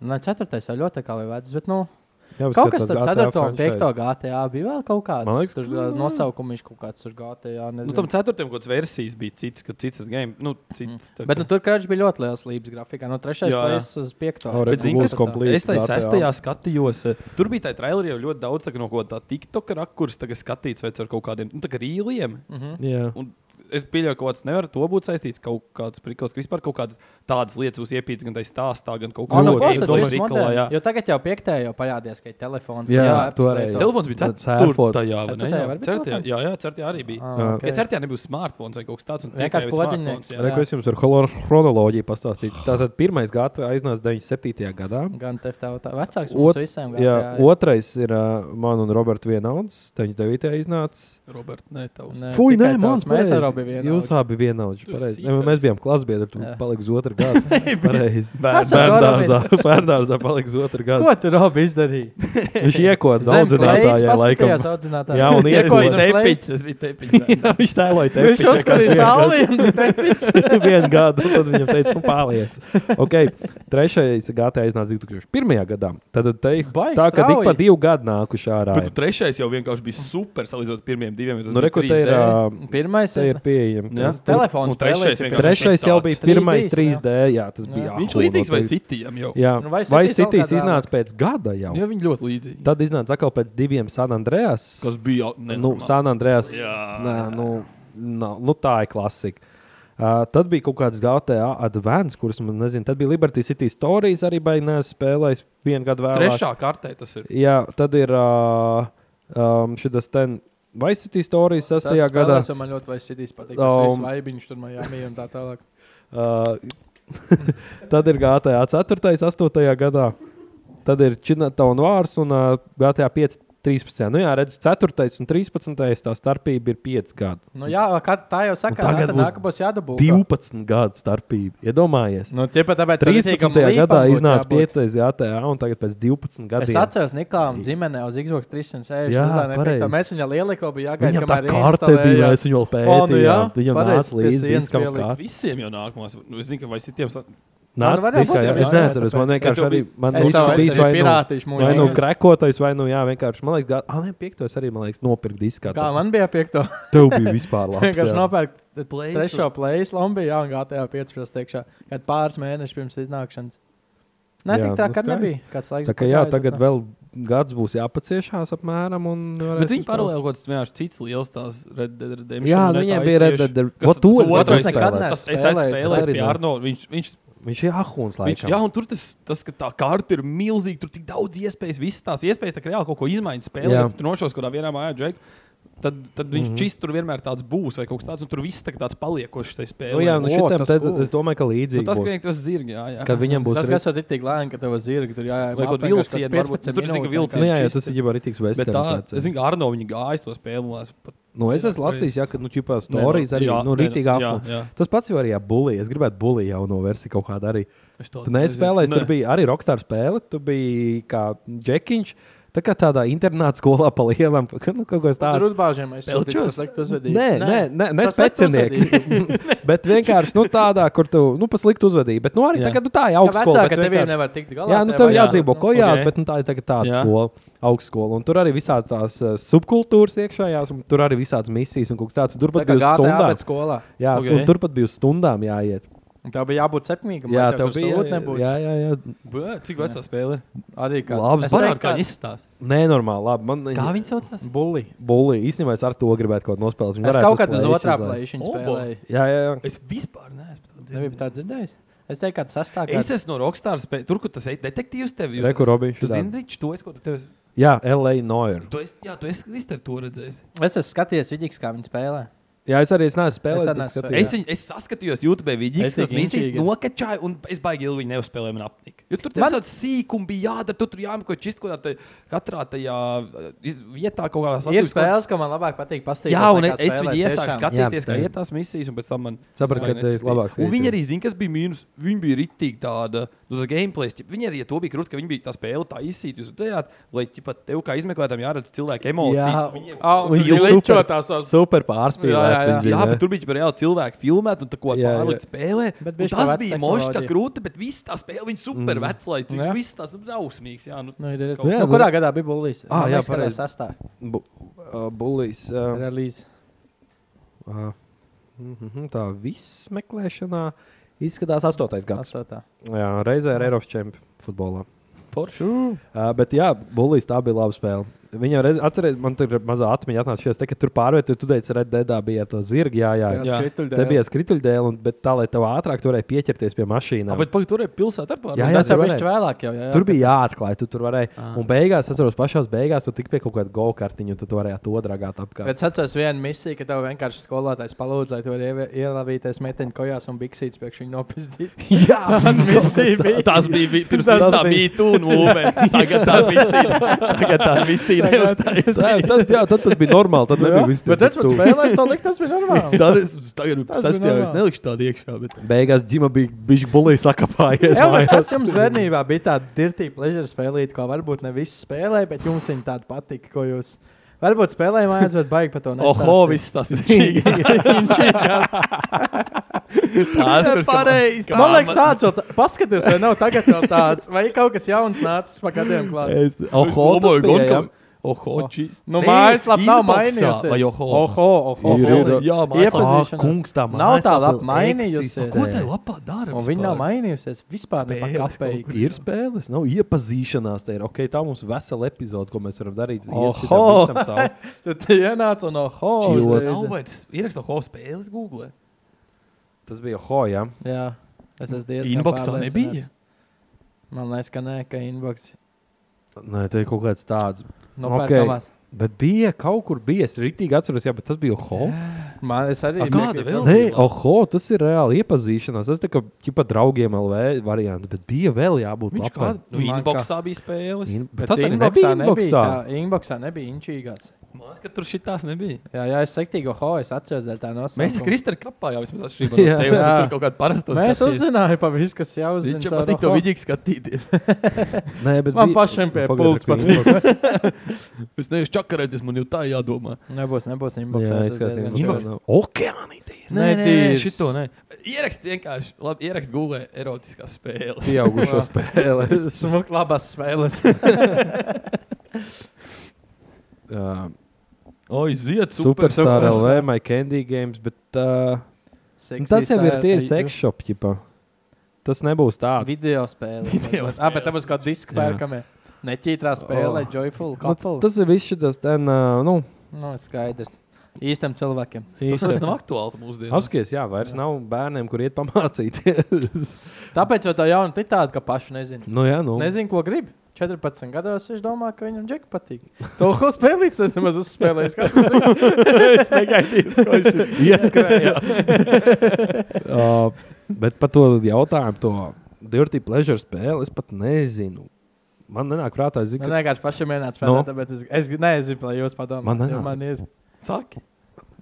No 4. jau ļoti kā līnijas, bet nu,
Jāpaskatās
Kaut kas tur
GTA
4. un
franchise.
5. GTA bija vēl kaut kāds.
Man
Man liekas,
liekas,
tur bija nosaukums kaut kāds tur GTA.
Nu,
nezinu.
tam ceturtajam kaut kādas versijas bija citas, ka citas game. Nu, cits, tā,
Bet nu, tur krāšņi bija ļoti liels līnijas grafikā. Nu, No 3.
Jā, jā.
līdz 5.
Au,
Bet,
Reku
zini,
būs
kas
complete
Es tajā
GTA.
sestajā skatījos, eh, tur bija tā trailerī jau ļoti daudz tā, kā no kaut kā tā TikTok rakurs, tagad skatīts vai ar kaut kādiem nu, tā kā rīliem. Mm -hmm.
Jā.
Un es pieļauju, ka kaut kas nevar ar to būt saistīts. Kaut kāds priklis, ka vispār kaut kādas tādas lietas būs iepīts gan tajā stāstā, gan kaut kādā
Ano,
Ļoti,
tas
veidā.
ir tas
Jā,
monēta. Tagad jau piektā jau parādījās, ka ir telefons.
Jā,
vai apps
tu arī.
lietot.
Telefons bija
Tad
ceturtajā, vai ne?
Ceturtajā var
Jā,
būt
Ceturtajā,
telefons?
jā, jā, ceturtajā arī bija.
Ah, okay.
Ja ceturtajā nebūs smartphones vai kaut kas tāds, un
Vienkārši
piektajā bija
podziņnieks.
smartphones, jā.
Reku, es jums ar holo- chronoloģiju pastāstīju. Tātad pirmais gada aiznāca 97. gadā.
Gan tev tā, tā vecāks mums
Ot-
visiem.
Jā, otrais ir uh, man un Roberta vienauds. 99. iznāca.
Robert, nē, tavs.
Nē,
Fui, nē,
tikai
man
tavs, mēs
pareizi.
ar abi vienauži.
Jūs abi vienaudži.
Tu
pareizi.
esi
Ne, Mēs bijām klasbiedri, tur
Jā.
palika uz otru gadu. Pareizi.
Kas ar Robertu?
Bērndārzā, bērndārzā palika uz otru gadu.
Ko tu Robi izdarīji?
Viņš iekoda daudzinātājā laikam.
audzinātājā.
Jā, un
Tas bija
iekoda.
tepiņš, tas bija tepiņš.
Jā, viņš tēloja tevi.
Viņš uzskatīja sauli un tepiņš.
Vienu gadu, un tad viņam teica, nu, paliec. Okay. Trešais gada iznāca 2001. gadā. Tad teicu,
Baigi
tā ka tik
strauji.
pa divu gadu nākuši ārā.
Bet tu trešais jau vienkārši bija super salīdzinot ar pirmiem diviem. jo tas
Nu,
bija
reku, te
3D.
ir, ā,
Pirmais
te ir
ir
pieejams.
Jā.
telefons.
Un trešais
spēlē,
vienkārši-
Trešais jau bija
tāds.
pirmais
3D,
3D. Jā, tas bija
Viņš
ahū,
līdzīgs vai
noteikti.
citiem jau?
Jā,
Nu,
vai
Vice Cities vēl
Citīs
kādā
iznāca pēc gada jau.
Jā, viņi ļoti līdzīgi.
Tad iznāca atkal pēc diviem San Andreas.
Kas bija ne,
Nu, San Andreas.
Jā.
Nē, nu, nav, nu, tā ir klasika. Uh, tad bija kaut kāds GTA Advance, kurus man nezinu. Tad bija Liberty City Stories arī baigās spēlējis vienu gadu vēlāk.
trešā kārtē tas ir.
Jā, tad ir uh, um, šis ten Vice City Stories
Tas
6. gadā.
spēlēs, un Man ļoti vajag sitīs patīk.
Um,
Tas vai viņš tur Miami un tā tālāk.
Uh, tad ir GTA 4. 8. gadā. Tad ir Chinatown Wars un uh, GTA 5. 13. Nu jā, redz, 4. un 13. tā starpība ir 5 gadi.
Nu jā, kā tā jau saka,
tagad
tagad
būs
nākamos jādabū.
12 gadu starpība. Iedomājies,
Nu, tiepa tāpēc
13.
rītīgam līpam
gadā
būtu
iznāca
jābūt.
5. GTA, un tagad pēc 12
Es
gadiem
atceros, Niklaus, ģimenē uz Xbox 360.
Jā,
Jā, tā
pareizi.
ir. Mēs viņam lieliko bija jāgaida,
viņam
kamēr
tā karte bija,
ieinstalējās.
es viņu vēl
O, nu jā,
pētīju. Viņam
pareizi,
nāca
pie
līdzi
sienas
diskam
pielikt.
kā.
Visiem jau nākamās. Nu, es zinu, ka vai citiem. sa-
Man
Nāca
varētu būt
diskā, jā.
jau
Es
jā,
neatceros, man
tāpēc.
vienkārši
Bet
arī,
tu
man
Es
viss
jau
bijis
esmu
vai nu,
pirātīšs mūžīgi.
vai nu krekotais, vai nu, jā, vienkārši, man liekas, gā- ah, ne, piektos arī, man liekas, nopirkt diskā.
Kā man bija piekto?
Tev bija vispār labs.
Vienkārši
jā.
nopērku trešo plēsu Lombiju, jā, un GTA 15. iekšā, kad pāris mēnešus pirms iznākšanas. Nē,
Jā,
tik tā,
nu
kad
skaisti.
nebija. Kāds laiks.
Tā kā jā,
pagājis,
tagad
bet tā.
vēl gads būs jāpaciešās apmēram. un varēs
Bet viņi
vispār-
paralēli kaut kāds nu, vienkārši cits liels tās Red Dead Redemption.
Jā, nu,
un
viņiem
tā
bija Red
aiziešu.
Dead Redemption.
Kas
Ko tu
tas
esi
otrais
gadu
nekad
spēlējis?
neesmu. Es esmu
Spēlējis.
spēlējis
Arī ne.
pie Arno. Viņš, viņš,
Viņš ir ahūns
viņš,
laikam.
jā, un tur tas, tas, ka tā karte ir milzīga, tur tik daudz iespējas, visas tās iespējas, tā kā reāli kaut ko izmaiņas
Jā. Mhm.
spēlē. Tur nošos kaut kādā vienā mājā, Džek. Tad, tad viņš mm -hmm. čist tur vienmēr tāds būs, vai kaut kas tāds, un tur viss tā kā tāds paliekošs tajā spēlē.
Nu, jā, nu
O,
šitam
tas
tad
cool.
es domāju, ka
Nu,
līdzīgi.
tas, ka
būs.
viņam tas zirgi, jā, jā.
Kad viņam būs
Tas,
arī.
kas ir tik lēni, ka tev zirgi tur jāiet.
Vai kaut
apmēram kaut
vilcieni,
kāds
varbūt.
15
Nu, tur zini, ka
minūtes
vilcieni
Nu, jā, jā,
čist
tas ir jau arī tiks
Bet
vēsturā.
tā, es zinu, ka Arno viņa gāja uz to spēli. un es pat-
Nu, es esmu
Jā,
Latvijas,
es-
jā, ka, nu, ķipā
Nē, nu,
stories arī,
jā,
nu,
nē,
rītīgi
jā,
apmū.
jā.
Tas pats jau arī, jā, bulī. Es gribētu bulī jauno versiju kaut kādu arī.
Es to
Tu nespēlēji,
nezinu.
tur bija arī rokstāra spēle, tu biji kā džekiņš, tā kā tādā internāta skolā pa lielam, nu, kaut kas
Ar
tāds.
rudbāžiem es saprotu,
Pelčos?
kas likt uzvedīt.
Nē, nē, nē,
Tas
nē
likt
specinieki. bet vienkārši, nu, tādā, kur tu, nu, pasliktu uzvedību. Bet, nu, arī
Jā.
tagad, nu, tā ir
Kā
augstskola.
vecāka
bet
tevī
vienkārši-
nevar tikt galā.
Jā, nu
tev
tev
vajag-
jādzīvo kojās,
Ok.
okay. bet nu, tā ir tagad tāda
Jā.
skola, augstskola. Un tur arī visādi tās uh, subkultūras iekšējās, un tur arī visādas misijas un kaut kas tāds. Un Turpat
Tā kā
bija uz
gāja
stundām.
pēc skolā.
Jā,
Ok.
okay. tur, turpat bija uz stundām jāiet.
Un Tev bija jābūt sekmīgam.
Jā,
lai
tev
tur
bija
sūdu nebūtu.
Jā, jā, jā.
Bē, Cik vecā spēle?
Arī kā
Labs
Es
Parādi,
teiktu,
kā
ka
viņi izstāsta.
Nenormāli, labi. Man,
Kā viņi saucās?
bulli.
Bulī, īstenībā es ar to gribētu kaut ko nospēlēt. Viņi
Es
varētu
kaut kad uz
Playšanu
otrā
izlaist.
plēšiņa
Obo.
spēlēju.
Jā, jā, jā.
Es vispār neesmu to dzirdējis.
Nebija tā dzirdējis? Es teiktu, ka tas
Es
sastāvdaļa.
esmu no Rockstar spēles. Tur, kur tas ir detektīvs, tev
Re, kur Robijs
Tu
šitā.
zini, Rič, to es kaut kādā veidā.
jā L.A. Noir.
Tu esi, jā, tu esi Kristēns, to redzējis.
Es esmu skatījies vidīgs, kā viņi spēlē.
Jā, es arī es neessu
Es
spēlējis.
arī neesmu
bet
Jā.
Es,
skatījos.
viņu, es saskatījos YouTube video,
Es
tas
tik
misijas
inčīgi.
nokačāju, un es baigi ilgi viņu neuzspēlēju, man apnika. Jo tur tas
Man-
tāds sīkums bija jādara, tu tur jāmeko čist kaut kādā te- katrā tajā eh, iz- vietā kaut kādā
Ir
saturs-
spēles, ko man labāk patīk pastīties.
Jā, un
nekā
es, es
spēlēt,
viņu iesāku
tiešām.
skatīties,
Jā,
kā
jā.
iet tās misijas, un pēc tam man
Sapratu, ka
Vai
tas
necipīja.
labāks
Un viņi
rītdien.
arī zina, kas bija mīnus. Viņi bija rītīgi tāda, nu, tas gameplays. ķip, Viņi arī ja to bija krūti, ka viņi bija tā spēle tā izsīta. Jūs redzējāt, lai ķipa, tev kā izmeklētājiem jāredz cilvēku
Jā,
emocijas. Jā.
Au,
Viņi
viņi
ir
ličo
super.
tās savas-
Super
Jā, jā,
pārspīlēts.
jā.
viņš bija,
Jā,
jā.
bet tur bija reāli cilvēki filmēt, un tā kā
Jā, jā.
pārlikt spēlē.
Bet
un
bišķi par
Tas
vecu
bija mošs, tā
tehnoloģiju.
krūti, bet viss tā spēle, viņa super super veclaicīgi.
Jā.
Viss tāds nu, drausmīgs. Jā, nu,
Nu, ir, ir.
Kaut-
Jā,
Jā,
nu,
nu-
kurā gadā bija Bullis?
Ah, jā, pareizi.
sastā.
Bu, uh, bulīs. Uh,
Relīze.
uh, mhm, tā viss meklēšanā izskatās astotais gads.
Astotā.
Jā, reizē ar Eiropas čempionu futbolā.
Foršu.
Uh, bet, jā, Bulīs, tā bija laba spēle. Viņa reiz, atcerēs, man tur ir mazā atmiņa, atnācies, te, ka tur pārvietojas, tu teici, redzēji, bija ar to zirgu. Jā, jā,
Jā,
jā.
skrituļdēli.
Te bija skrituļdēļ, un bet tā, lai tev ātrāk tur varēja pieķerties pie mašīnām.
Ah, bet pagaidi, tur bija pilsēta ar
Ah, Jā, jā.
pārējām.
Tas jau
tu
bija
varēji.
vēlāk. Jau, jā, jā.
Tur bija jāatklāj, tu tur varēja. Un beigās, atceros, pašās beigās tu tik pie kaut kāda golkartiņa, un tad tu varēji to dragāt apkārt.
Bet es atceros vienu misiju, ka tev vienkārši skolotājs palūdza, lai tu varētu ielavīties meiteņu kojās un biksītas priekš viņu nopizdīt.
Jā,
Tāda misija bija.
Tas bija vi- pirms
Tas
tam tā
bija.
bija tūna. Tagad tā visī- tagad tā visi ir
jā,
neuztaisīta.
tad, jā, tad tas bija normāli. Tad nebija viss
Bet tas,
tik
ko
tuvu.
spēlēs, to likt, tas bija normāli.
Tagad ir
bija
sastajā, es
normāli.
nelikšu tādu iekšā. Bet...
Beigās dzimta bija bijis bulīs sakapājies.
Jā, bet
mājās.
tas jums bērnībā bija tāds dirtīgs pleasure spēlīt, ko varbūt ne visi spēlēja, bet jums viņa tāda patika, ko jūs varbūt spēlējāt mājās, bet baigi par to nestāstīt.
Oho, viss tas ir čīgi. Tas ir pareizi.
Man liekas, tāds vēl, tā- paskaties, vai nav tagad vēl tāds, vai ir kaut kas jauns nācis pa gadiem klāt.
Es- Oho, tas bija, jā.
Oho, čīs.
Nu, mājaslapa nav mainījusies.
Vai oho?
oho, oho.
Ir, ir,
jā,
Iepazīšanās.
Ā, kungs, tā
nav tā
mājaslapa
lapa
vēl
mainījusies.
eksistē.
Ko tai lapā dara?
Un viņa nav
vispār?
mainījusies vispār.
Spēles kaut
Kāpēc?
Ir spēles, nav iepazīšanās. Tā ir ok, tā mums vesela epizode, ko mēs varam darīt.
Oho!
Ieskatām visam cauri.
Tad tu ienāc un oho.
Čīlos.
uzreiz.
Nav vairs ierakstu oho spēles Google.
Tas bija oho, jā.
Jā, es esmu diezgan.
Inboxā
pārliecināts.
nebija.
Man liekas, ka nē, ka inbox. Nu,
Nē, tā ir kaut kāds tāds.
Nopērkamās.
Bet bija kaut kur bijis. Es rītīgi atceros, jā, bet tas bija oho.
Man, es arī
A, Kāda vēl?
Nē, oho, tas ir reāli iepazīšanās. Tas ir kā ķipa draugiem LV variants, bet bija vēl jābūt
Viņš
lapai.
kāda? Nu,
Man
inboxā bija spēles.
In-
Bet
Bet tas arī
inboxā
nebija inboxā.
Tā, inboxā nebija inčīgās.
Man liekas, ka tur šitās nebija.
Jā, jā, es sektīgo ho, es atceros, dēļ tā nosaukuma.
Mēs ar Kristēnu kapā jau vismaz atšķirībā
Jā.
no tevis.
Jā.
Tur kaut kāda parasta.
Mēs uzzinājām par visu, kas jau
Viņš
zina.
man
caur
patīk to
oho.
vidīgi skatīties.
Nē, bet
Man
bija-
pašam pie
Pagaid,
pults
ar ko
patīk.
inbox-
Es neesmu čakarēties, man jau tā jādomā.
Nebūs, nebūs inboxā.
Jā,
es esmu
izskatās,
diezgan
inboxā
šaubos.
nav. Okeāni tie ir.
Nē, tīrs.
šito nē. Ierakst vienkārši, labi, ierakst Google erotiskās spēles.
Pieaugušo spēles.
Smuk labas spēles.
Uh,
Oi, ziet,
Superstar LV, My Candy Games, bet uh, nu,
Seksīs
tas jau ir
tā-
tie
tā-
sekšopi. Tas nebūs tāds.
Video spēles.
Video
Ah, bet tam būs kā diska
Jā.
pērkamie. Neķītrā spēle,
Oh.
joyful,
Nu,
couple.
tas ir viss šis ten, uh, nu,
Nu, skaidrs. Īstam cilvēkam.
Tas vairs nav aktuāli mūsdienās.
apskaties, jā, vairs jā. nav bērniem, kur iet pamācīties.
Tāpēc jau tā jauna titāda, ka paši nezina.
nu, jā, nu.
Nezinu, ko grib. 14 gados viņš domā, ka viņam džekli patīk. To ko spēlīt, es nemaz uzspēlēju. Es kādu zinu. Es negaidīju, ko viņš ir.
Uh, bet par to jautājumu, to Dirty Pleasure spēli, es pat nezinu. Man nenāk prātā, es zinu,
Man
ka
vienkārši pašam ienāca
Nu?
spēlē, tāpēc es, es nezinu, lai jūs
Man
padomājat.
nenāk.
Man ir,
Saki.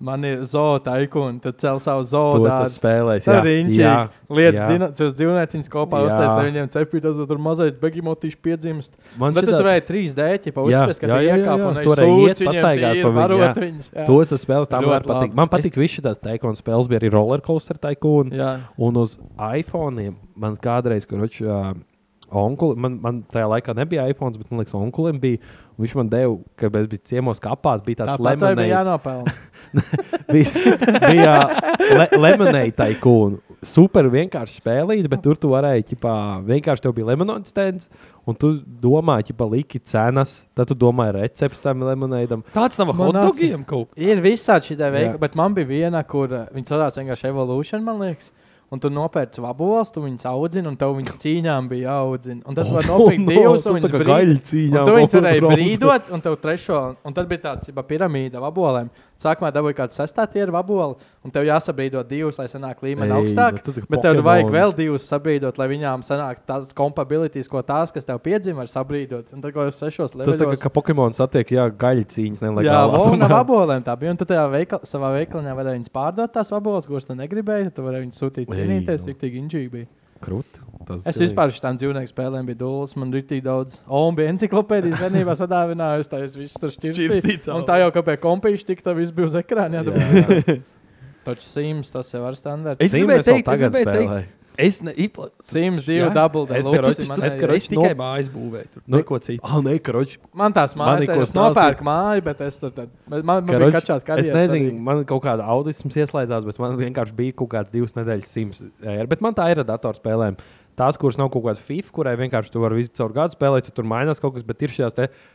man ir zoota ikona, tad cel savu zootu.
to tas spēlēs.
Tā
jā.
ir rīņķa.
Jā, jā.
Lietas dzīvnieciņas kopā
Jā.
uztaisīja, lai viņiem cepītu, tad tur mazais begimotīši piedzimst.
Man
Bet tu
šitā-
turēji trīs dēķi, pa
Jā,
uzspēs, ka
jā,
tie
jā, jā,
iekāpa
jā.
un
Tu varēji iet, pastaigāt pa viņu, jā.
viņu.
To tas spēles tā
Ļoti
man
labi.
patīk. Man patīk visi tās teikonas spēles, bija arī rollercoaster taikūna.
Jā.
Un uz iPhone man kādreiz, kurš uh, onkuli, man, man tajā laikā nebija iPhone, bet man liekas, onkulim bija. un Viņš man deva, ka mēs bijām ciemos kapās, bija tāds
Tāpat tā bija
lemonade.
jānopelna.
bija bija le, lemonade taikūna. Super vienkārši spēlīt, bet tur tu varēji, ķipā, vienkārši tev bija lemonāts stends, un tu domāji, ka liki cenas, tad tu domāji recepts tam lemonādam.
Tāds nav
Man
hotdogiem kaut kā.
Ir visādi šī veikala,
Jā.
bet man bija viena, kur uh, viņi saucās vienkārši Evolution, man liekas. Un tu nopērci vaboles, tu viņus audzini, un tev viņas cīņām bija jāaudzina. Un tad
Oh, Nu,
var nopirkt divus, un viņas brīd- Un
cīņā.
tu viņus varēji brīdot, un tev trešo, un tad bija tāds jau piramīda vabolēm. Sākumā dabūji kāds sestā tiera vaboli, un tev jāsabrīdot divus, lai sanāk līmeni
Ei,
augstāk.
nu tu tik
Bet tev
Pokemon.
vajag vēl divus sabrīdot, lai viņām sanāk tās kompabilitātes, ko tās, kas tev piedzima, var sabrīdot. Un tad, ko es sešos
Tas tā kā,
leveļos-
ka Pokemons satiek, jā, gaļa cīņas
Jā,
nelegālās.
vona vabolēm tā bija. Un tu tajā veikal, savā veikalā varēji viņas pārdot tās vaboles, kuras tu negribēji. tad Tu varēji viņus sūtīt
Ei,
cīnīties,
nu.
cik tik inčīgi bija.
Krut, tas
Es
ir-
vispār šīm dzīvnieku spēlēm biju dūlis. Man bija tik daudz. O, un bija enciklopēdijas bērnībā sadāvinājusi. Tā es visu tur
Šķirstīts,
šķirstīju.
au.
Un tā jau kā pie kompīša tik tā viss bija uz ekrāna. Jā, tā bija. Taču Sims tas jau ir standarts.
Es
Sims
gribēju
vēl
teikt, es
tagad
gribēju
spēlē.
teikt, Es nevienu.
Sims divi double
Es
deluxe
karoči-
man
es
ir.
karoči
Es
tikai
nop-
mājas būvēju. Tur
Nu-
neko citu.
Ah, nē, karoči.
Man tās
Man
mājas,
neko
tā, es
stāstīja.
nopērku māju, bet es tur tad. Man, man bija
Karoči,
kačāta
Es
karjeras.
nezinu, arī. man kaut kāda audisms ieslēdzās, bet man vienkārši bija kaut kāds divas nedēļas simts. eiro. Bet man tā ir ar datorspēlēm. Tās, kuras nav kaut kāda FIFA, kurai vienkārši tu vari visu caur gadu spēlēt, tad tur mainās kaut kas. Bet ir šīs,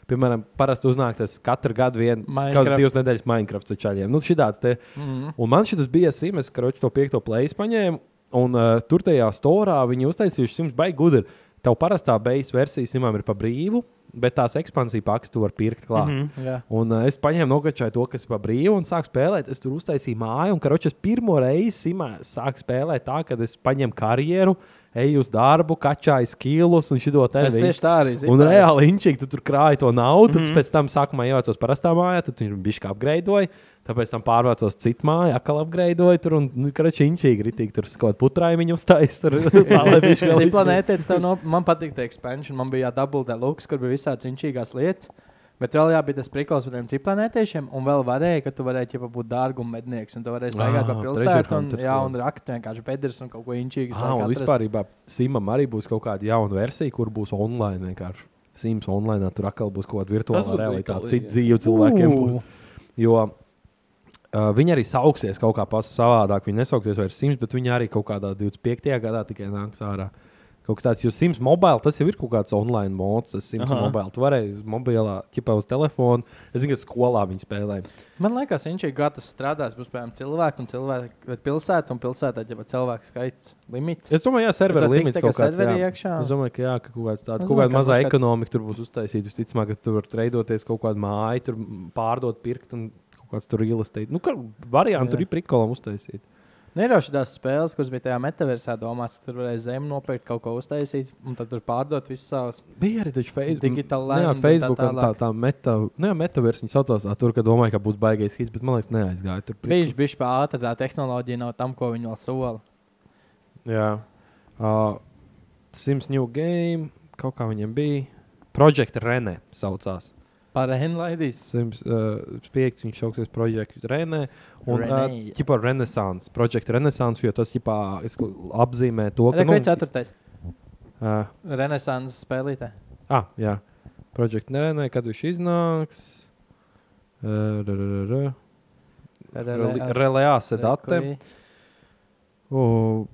piemēram, parasti uznāktas katru gadu viena kaut
Minecraft. Mhm.
kādas divas nedēļas Minecraft ceļiem. Nu, šitāds te. Mm. Un man šis bija Sims, kurš to piekto plēsu paņēma. Un uh, tur tajā storā viņi uztaisījuši simts baigi gudri. Tev parastā beigas versija simam ir pa brīvu, bet tās ekspansija pakas tu vari pirkt klāt. Mm -hmm.
Jā.
Un uh, es paņēmu nokačāju to, kas bija brīvi, un sāku spēlēt. Es tur uztaisīju māju, un karoči, es pirmo reizi simā sāku spēlēt tā, ka es paņēmu karjeru, eju uz darbu, kačāju skilus un šito te
Es tieši tā arī Mhm. zinu.
Un reāli inčīgi, tu tur krāji to naudu, mm -hmm. tad pēc tam sākumā ievācos parastā mājā, tad viņi bija šķi apgreidoja, tāpēc tam pārvācos citu māju, atkal apgreidoja tur un, nu, karoči, inčīgi, ritīgi tur kaut kādu putraimiņu uztaisīju. Tur tā, lai bišķi vēl
Cik
inčīgi.
planētē tas tev no, man patīk, tā ekspansija. Man bija dubult deluxe, kur bija visādas inčīgās lietas. Bet vēl jā, bija tas priklis par tiem ciklānētiešiem, un vēl varēja, ka tu varēji jau būt dārguma mednieks, un tu varēji staigāt
Ah,
pa
treasure
pilsētu, un,
hunters,
jā,
jā.
un rakt vienkārši bedres un kaut ko inčīgas.
Ah, un vispār īstenībā Simam arī būs kaut kāda jauna versija, kur būs online vienkārši. Sims online tur atkal būs kaut kāda
Tas
virtuāla
būtu
realitāte,
rīkalīgi,
cita
jā.
dzīve cilvēkiem. Būs, jo uh, viņi arī sauksies kaut kā pasa- savādāk. Viņi nesauksies vairs Sims, bet viņi arī kaut kādā 25. gadā tikai nāks ārā. Kaut kas tāds, jo Sims mobile, tas jau ir kaut kāds online mods, tas Sims
Aha.
Aha. mobile. Tu vari uz mobilā, ķipā uz telefona. Es zinu, ka skolā viņi spēlē.
Man liekas, inčīgi, kā tas strādās, būs piemēram cilvēku un cilvēku bet pilsētu, un pilsētā jau ir cilvēku skaits limits.
Es domāju, jā, servera
tad tik
līmenis
tā,
kaut
ka
kāds.
serveri
jā.
iekšā.
Es domāju, ka jā, ka kaut, kāds tāds,
Es
kaut
domāju,
kāda
ka
mazā
būs kā-
ekonomika tur būs uztaisīta. Visticamāk, ka tur var treidoties kaut kādu māju, tur mm, pārdot, pirkt un kaut kāds tur īlas teikt. Nu, kā varianti tur ir prikolam uztaisīt.
Nu, ir jau tādas spēles, kuras bija tajā metaversā domāts, ka tur varēja zemi nopirkt, kaut ko uztaisīt, un tad tur pārdot visus savus.
Bija arī taču Facebook.
Digital
Nu jā,
land un tā
Facebook un tā,
tālāk.
tā meta, nu jā, metaversa viņa saucās, tā, tur, ka domāju, ka būs baigais hits, bet man liekas, neaizgāja. Tur prik-
Bija bijusi pārāk ātri, tā tehnoloģija nav tam, ko viņi vēl sola.
Jā. Uh, Sims New Game, kaut kā viņam bija. Project Rene saucās.
Par Henlaidīs.
Sims, uh, piekts, viņš sauksies projektu Renē. Un
Renē.
tā ir renaissance. Projekta renaissance, jo tas ģipā, es ko- apzīmē to, ka.
Ko ir ceturtais?
uh,
Renesanses spēlītē.
ah, jā, projekta Renē, kad viņš iznāks. Uh, ra, ra, ra, ra. Reli- Relēās ar datiem. No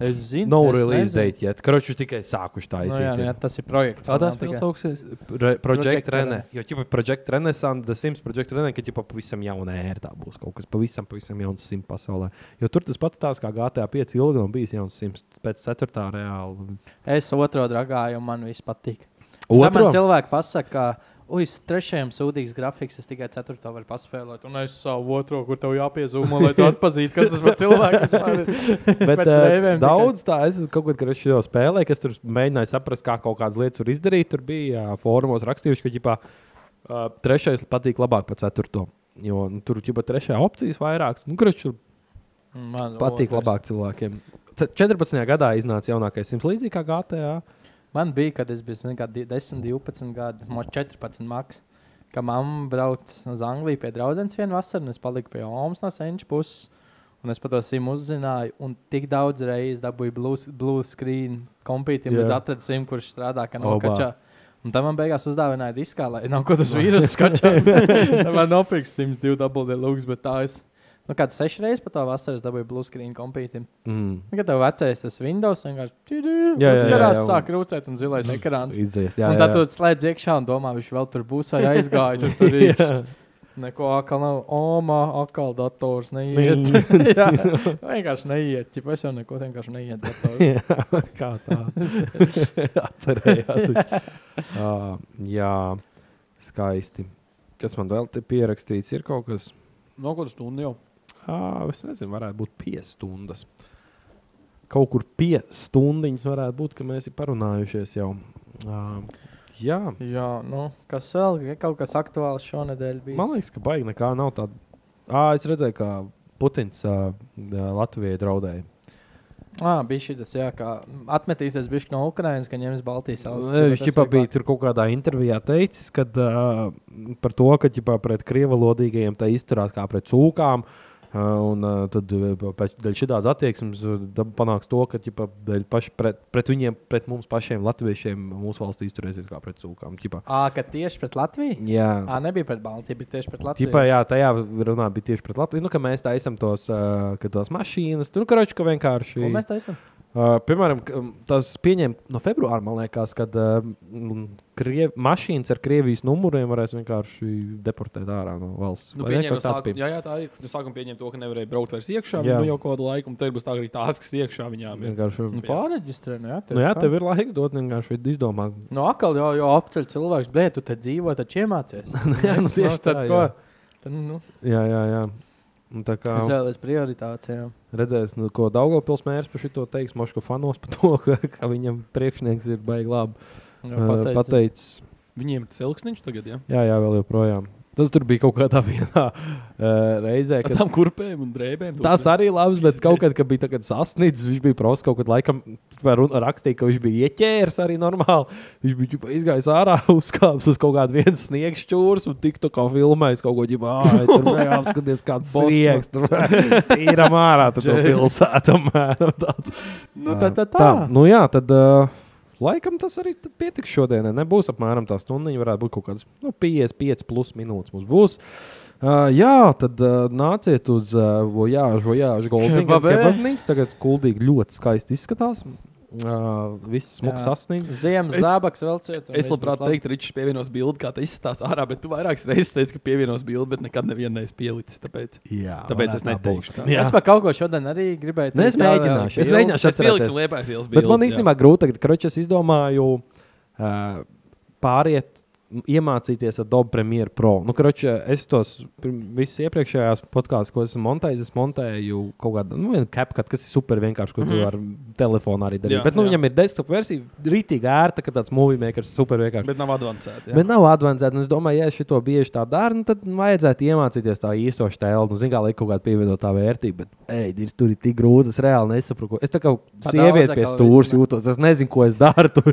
Es zinu, es
release
nezinu.
date yet. Karoči tikai sākuši tā
Nu, jā, nu, jā,
izsīt.
tas ir projekts.
Kā
man
tās
nav
spēles
tikai-
augsies?
Projekt
Project
Renē.
Rene.
Jo, ja projekta Renaissance, The Sims projekta Renē, ka jau pavisam jauna ēra tā būs kaut kas pavisam, pavisam jauns Sims pasaulē. Jo tur tas pats tās kā GTA 5 ilgi un bijis jauns Sims pēc 4. reāli.
Es otro dragāju, un man viss patīk. Otru? Tad man
Otru?
cilvēki pasaka, ka, uz trešajam sūdīgs grafiks, es tikai ceturto varu paspēlēt. Un es savu otro, kur tev jāpiezīmē, lai tu atpazītu, kas tas par cilvēku vispār ir.
Bet,
pēc
uh,
reiviem
daudz tā, es kaut kādā veidā šajā spēlē, kas tur mēģināja saprast, kā kaut kādas lietas var izdarīt. Tur bija jā, fórumos rakstījuši, ka ģipā, uh, trešais patīk labāk par ceturto. Jo nu, tur jau trešajā opcijas vairākas, nu, kurš tur
Man
patīk
otrs.
labāk cilvēkiem. Ce- 14. gadā iznāca jaunākais Sims līdzīgi kā GTA.
Man bija, kad es biju zini, kā die- 10, 12 gadi, man 14 maks. Kad mamma brauca uz Angliju pie draudzenes vienu vasaru, un es paliku pie Omas no senča puses. Un es par to simu uzzināju, un tik daudz reizes dabūju blue- blue screen kompītiem,
Jā.
līdz atradu simu, kurš strādā kā
Obā.
nokačā. Un tam man beigās uzdāvināja diskā, lai nav ko tas vīrusu skačāt. Tad man nopirka 102 double deluxe, bet tā es. Nu, kāds sešas reizes pat tā vasaras dabūju blue screen kompītiem.
Mm.
Nu, Kad tev vecais tas Windows vienkārši
Jā, jā, jā,
uzkarās,
jā, un-
sāk rūcēt un zilais ekrāns.
Izdzies, jā,
Un
jā,
tad tu
jā.
slēdz iekšā un domā, viņš vēl tur būs vai aizgāja. Tur tur ir neko akal nav. Oma, akal dators neiet. jā, vienkārši neiet. Ķip, es jau neko vienkārši neiet. dators.
Jā, kā tā. Atcerējās. uh, jā, skaisti. Kas man vēl te pierakstīts, ir kaut kas.
No kādas stundas jau?
Ah, es nezinu, varētu būt 5 stundas. Kaut kur 5 stundas varētu būt, ka mēs ir parunājušies jau. Uh, jā,
jā, nu, kas vēl? Ja Kaut kas aktuāls šonadēļ bija.
man liekas, ka baigi nekā nav tāda. Ah, es redzēju, ka Putins uh, Latvijai draudēja.
Ah, bija šī tas, jā, kā atmetīsies bišķi no Ukrainas, ka ņems Baltijas valsts.
Viņš
Ķip,
jau
es
bija tur kaut kādā intervijā teicis, kad, uh, par to, ka ģipā, pret krievalodīgajiem tā izturās kā pret cūkām. Uh, un uh, tad uh, pēc- dēļ šādas attieksmes uh, dab- panāks to, ka ķipa, dēļ paši pret, pret viņiem, pret mums pašiem, latviešiem, mūsu valstī izturēsies kā pret cūkām. Ķipa.
Ā, ka tieši pret Latviju?
Jā,
Ā, nebija pret Baltiju, bet tieši pret Latviju.
Ķipā, jā, tajā runā bija tieši pret Latviju. Nu, ka mēs tā esam tos, uh, ka tās mašīnas, nu, karoči, ka vienkārši.
Ko mēs taisām?
Uh, piemēram, k- um, tas pieņem no februāra, man liekas, kad um, kriev, mašīnas ar krievijas numuriem varēs vienkārši deportēt ārā no valsts.
Nu,
Vai ne?
pieņēma
Kaut
no
kas tāds
sākuma,
bija.
jā, jā, tā arī no sākuma pieņēma to, ka nevarēja braukt vairs iekšā.
Jā.
Nu, jau kādu laiku, un tad būs tā arī tās, kas iekšā viņām ir.
Vienkārši, nu,
Pāreģistrē, nu jā.
nu, jā, tev ir laiks dot, vienkārši izdomā.
Nu, atkal jau, jau apceļ cilvēks, bet tu te dzīvo, tad iemācies.
jā, nu,
Es
tieši
nav tāds,
tā,
ko.
jā.
Tad, nu,
Jā, jā, jā. Un tā kā
izvēlēs prioritācijām.
redzēs, nu, ko Daugopils mērs par šo teiks, Moško fanos par to, ka, ka viņam priekšnieks ir baigi labi uh, pateicis.
Viņiem tas ilgsniņš tagad, jā.
Jā, jā, vēl joprojām. Tas tur bija kaut kādā vienā uh, reizē,
Ar
kad
tām kurpēm un drēbēm.
Tas arī labs, bet kaut kad, kad bija tā, kad sasniedzis, viņš bija profs kaut kad laikam vai run- rakstīja, ka viņš bija ieķēries arī normāli. Viņš bija ģipa, izgājis ārā, uzkāpis uz kaut kāda viena sniega šķūras un tik tā kā filmējis kaut ko ģipā. Tur bija jāapskaties, kāds
Bosma.
sniegs tur ir ārā, tad to pilsētu mēram tāds.
Nu, tā, tā, tā.
Tā, nu jā, tad. Uh, Laikam tas arī tad pietiks šodienai. Nebūs apmēram tā stunda. Viņa varētu būt kaut kādas nu, 55 plus minūtes. Mums būs. Uh, jā, tad uh, nāciet uz uh, Voyage, Voyage Goldinga
Kebabē.
kebabnīcu. Tagad kuldīgi ļoti skaisti izskatās. Uh, viss smags
Jā.
sasniegts.
Ziemas
Es-
zābaks vēl cieta.
Es labprāt teiktu, Ričs, pievienos bildi, kā tas izskatās ārā, bet tu vairākas reizes teici, ka pievienos bildi, bet nekad nevienu neesi pielicis. Tāpēc,
Jā,
tāpēc es neteikšu. Tā.
Jā.
Jā.
Es par kaut ko šodien arī gribēju.
Nē, es
teikt, jā, vēl.
mēģināšu. Es mēģināšu
Es pieliku
atcerēties.
liepais ielas bildi.
Bet man īstenībā grūti tagad, kroķis, es izdomāju uh, pāriet. m, Iemācīties ar Dobu Premjeru Pro. Nu, kroči, es tos pirm- visus iepriekšējos podkāstus, ko esmu montējis, es montēju kaut kādu nu, capcut, kas ir super vienkārši, ko mm -hmm. tu ar telefonu arī dari.
Mhm. Jā,
Bet nu,
jā.
viņam ir desktop versija, rītīgi ērta, ka tāds movie makers super vienkārši.
Bet nav advancēta. jā.
Bet nav advancēta. un Es domāju, ja šito bieži tā dara, nu, tad vajadzētu iemācīties tā īsto stēlu. Nu, Zinām, kā lai kaut kāda pievienotā vērtība. Bet, ej, ir, tur ir tik grūti. Es reāli nesaprotu. ko- Es tā kā
Pa daudz
sieviete pie
atkal
stūra
visu, ne?
jūtos. Es nezinu, ko es daru. Tur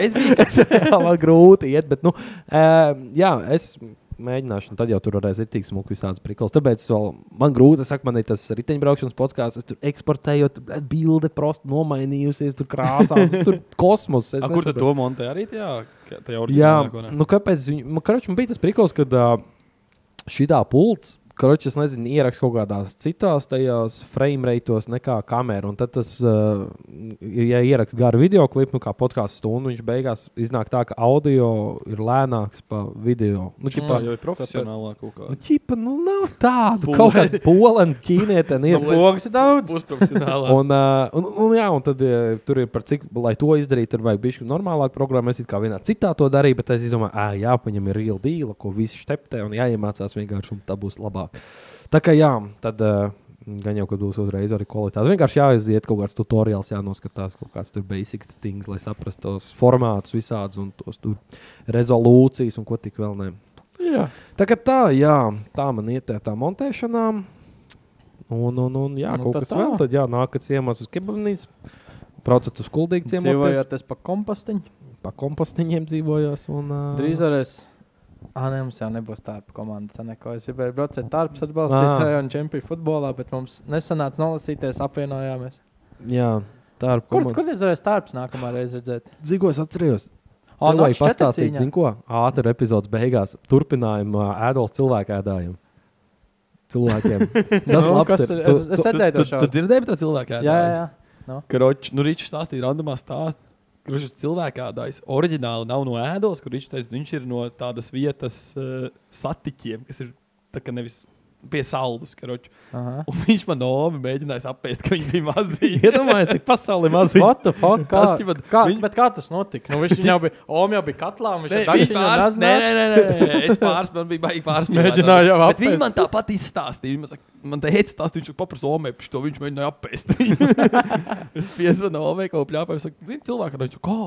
Es biju
es reāli man grūti iet. Bet, nu, um, jā, es mēģināšu. un Tad jau tur varēs ir tik smuki visādas priklis. Tāpēc es vēl, man grūti. Es saku, man ir tas riteņbraukšanas podkāsts. Es tur eksportēju, tur bilde prosti nomainījusies. Tur krāsās, tur kosmos. es
A, Kur tu
nesaprotu.
to montē arī tajā? ka- tajā
Jā,
oriģinālā, ko ne?
nu kāpēc? Viņu, man, karoč, man bija tas prikals, kad uh, šī tā pults. Kroķis, es nezinu, ierakstīs kaut kādās citās tajās frame rateos, nekā kamera. Un tad, tas, uh, ja ierakstīs garu video klipu, nu, kā podkāstu stundu, viņš beigās iznāk tā, ka audio ir lēnāks par video. Nu,
Tā
ķipā,
jau ir profesionālā kaut kā.
nu, ķipā, nu, nav tāda. Kaut kāda polena ķīnietene ir.
pogas daudz.
Būs profesionālā.
Un, uh, un, un, jā, un tad uh, tur ir par cik, lai to izdarītu, ir vajadzīga bijusi normālāka programma. Es it kā vienā citā to darīju, bet es domāju, ah, jā, viņam ir real deal, ko visi šteptē un jāiemācās vienkārši, un tā būs labāk. Tā kā jā, tad uh, gan jau, ka būs uzreiz arī kvalitāte. Vienkārši jāaiziet kaut kāds tutoriāls, jānoskatās kaut kāds tur basic things, lai saprastu tos formātus visādus un tos tur rezolūcijas un ko tik vēl ne.
Jā.
Tā kā tā, jā, tā man iet tā montēšanām. Un, un, un
Nu,
jā, nu, kaut
tad
kas
tā.
tā. vēl tad jānāk, kad ciemos uz kebabnīcu. Braucat uz kuldīgu ciematu,
Dzīvojoties pa kompostiņu.
pa kompostiņiem dzīvojos. Un, uh,
Drīz varēs. Ā, nē, mums jau nebūs tā komanda. Tā neko. Es gribēju braukt ar tārpus
Ā.
atbalstīt un čempionu futbolā, bet mums nesanāca nolasīties, apvienojāmies.
Jā, tā ir
Kur, kur jūs varēsiet tārpus nākamā reize redzēt?
Dzīvo, es atceros.
O,
Tā vajag
nakšķetra
nu, pastāstīt,
cīņā.
zin ko? Ātri epizodes beigās. Turpinājumā ēdols cilvēku ēdājumu. Cilvēkiem. Tas
Nu,
labs
kas
ir.
ir-
Tu,
Es es redzēju,
tu,
to
tu, tu
šādu.
dzirdēji par to cilvēku?
Jā, jā, jā.
Kroč, nu, Rīčs stāstīja randomā stāstu. Kurš ir cilvēkā dārsts? Oriģināli nav no ēdos, kur viņš teica, viņš ir no tādas vietas uh, satiķiem, kas ir tā kā nevis pie saldus. Kroč.
Aha.
Un viņš man nomi mēģināja apēst, ka viņi bija mazi.
Iedomājieties, cik pasaulē maz ir.
What the fuck? Kā,
Tas, ķipa,
kā,
viņ-
bet kā tas notika? Nu, viņš jau bija, Om jau bija katlā, un viņš jau
Viņš
dažu
pāris, nē, nē, nē, nē, nē, es pāris, man bija baigi pāris.
Mēģināju jau
Bet Viņi
apēst.
man tāpat izstāstīja. Viņi Man, saka, man teica, tas viņš paprasīja omēpšu, to viņš mēģināja apēst. es piezvanu omēku, pļāpēju, saku, zini, cilvēku, viņš saka, kā,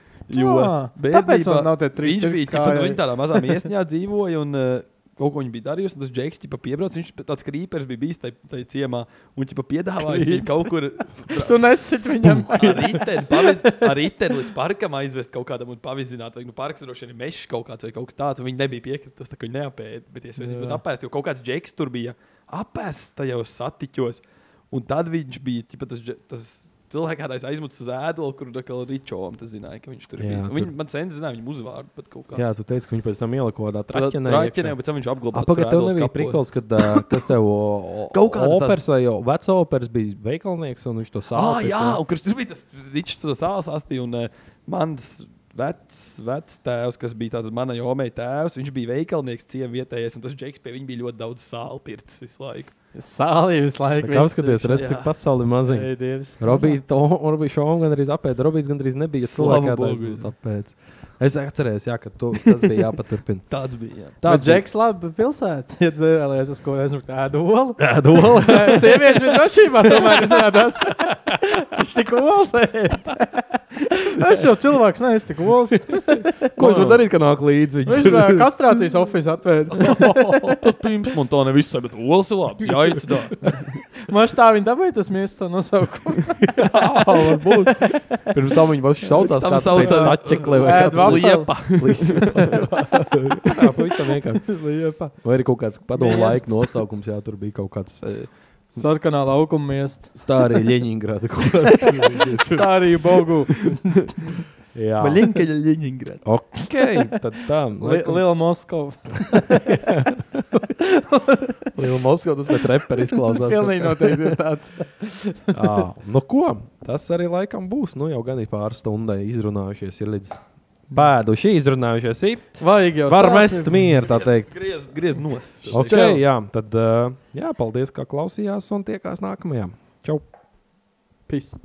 jā.
Ā, tāpēc man nav tie trīs
viņš
pirksti
bija
kājai.
tāpat, viņi tādā mazā miesņā dzīvoja. Un, uh, kaut ko viņi bija darījuši. un Tas džeks jau piebraucis. Viņš tāds krīpers bija bijis tajā, tajā ciemā. Un viņš piedāvājis viņu kaut kur
Tu nesit viņam.
ar riteni, paviz, ar riteni līdz parkam aizvest kaut kādam un pavizināt. Vai nu parks droši vien ir mežs kaut kāds vai kaut kas tāds. un Viņi nebija piekritusi, tā kā viņi neapēda. Bet es vienkārši būtu apēsts, jo kaut kāds džeks tur bija apēsts tajos satiķos. Un tad viņš bija ķipa, tas, dže- tas cilvēks, kādreiz aizmucis uz ēdolu, kur tur bija ričovs. Tas zināja, ka viņš tur
Jā,
bija.
tur-
Viņi man sen zināja viņa uzvārdu. bet kaut kāds.
Jā, tu teici, ka viņi pēc tam ielika kaut kādā traķenē.
Raķenē, bet tam viņš apglabāja.
Apakā tev nebija prikals, kad uh, kas tev
Kaut
kaut
kādas
kāds
tās-
opers vai jau vecs opers bija veikalnieks un viņš to
Ah,
sāpēs.
jā, un kurš tur bija tas rīčs, tas sāsāstī un eh, mans vecs, vecs tēvs, kas bija tāda mana jomei tēvs, viņš bija veikalnieks ciem vietējais, un tas džeks pie viņa bija ļoti daudz sāli pirts visu laiku.
Sālī visu laiku.
Kā apskaties, redz,
jā.
cik pasauli maziņa.
redzēs.
Robīts šovā gandrīz apēda. Robīts gandrīz nebija
Slava
cilvēks, kāds
Bogu, jā.
būtu apēdis. Es atceros, jā, ka tu, tas bija jāpaturpina.
Tāds bija. Jā.
Tā
Tā
ir Džeks, labi pilsēta. Ja dzīvēlies uz ko aizmukt ēdu olu.
doma.
Sievietes bija drošībā, tomēr izrādās. Viņš tik olas ēd. Es jau cilvēks, ne, es tik olas.
Ko viņš var darīt, ka nāk līdzi?
Viņš bija kastrācijas ofisu atvērta.
Tas pirms man tā nevis bija, bet olas ir labs. Jā, it's tā.
Man šķiet, tā viņa dabūja tas miesas nosaukumu.
varbūt. Pirms tam viņi vienkārši saucās,
tam
kā
saucās-
saucās atķekli vai
Ēd
kāds
vafeli.
Liepa.
Jā, pavisam vienkārši.
Liepa.
Vai arī kaut kāds padomu
Miests.
laika nosaukums, jā, tur bija kaut kāds eh,
Sarkanā laukuma miesta.
stārī Ļeņingrada. kaut kāds.
Tā arī bogu.
Jā,
Maļinkaļa Ļeņingrad.
ok, tad tā. laikam.
Liela Moskova.
Liela Moskva, tas pēc repera izklausās.
Pilnīgi noteikti ir tāds.
Jā, nu ko, tas arī laikam būs. Nu jau gan ir pāris stundai izrunājušies, ir līdz pēduši izrunājušies. ir.
Vajag jau.
Var
sāpes.
mest mieru, tā teikt.
Griez, griez nost.
Ok,
Čau.
jā, tad ā, jā, paldies, ka klausījās un tiekās nākamajā. Čau!
Peace.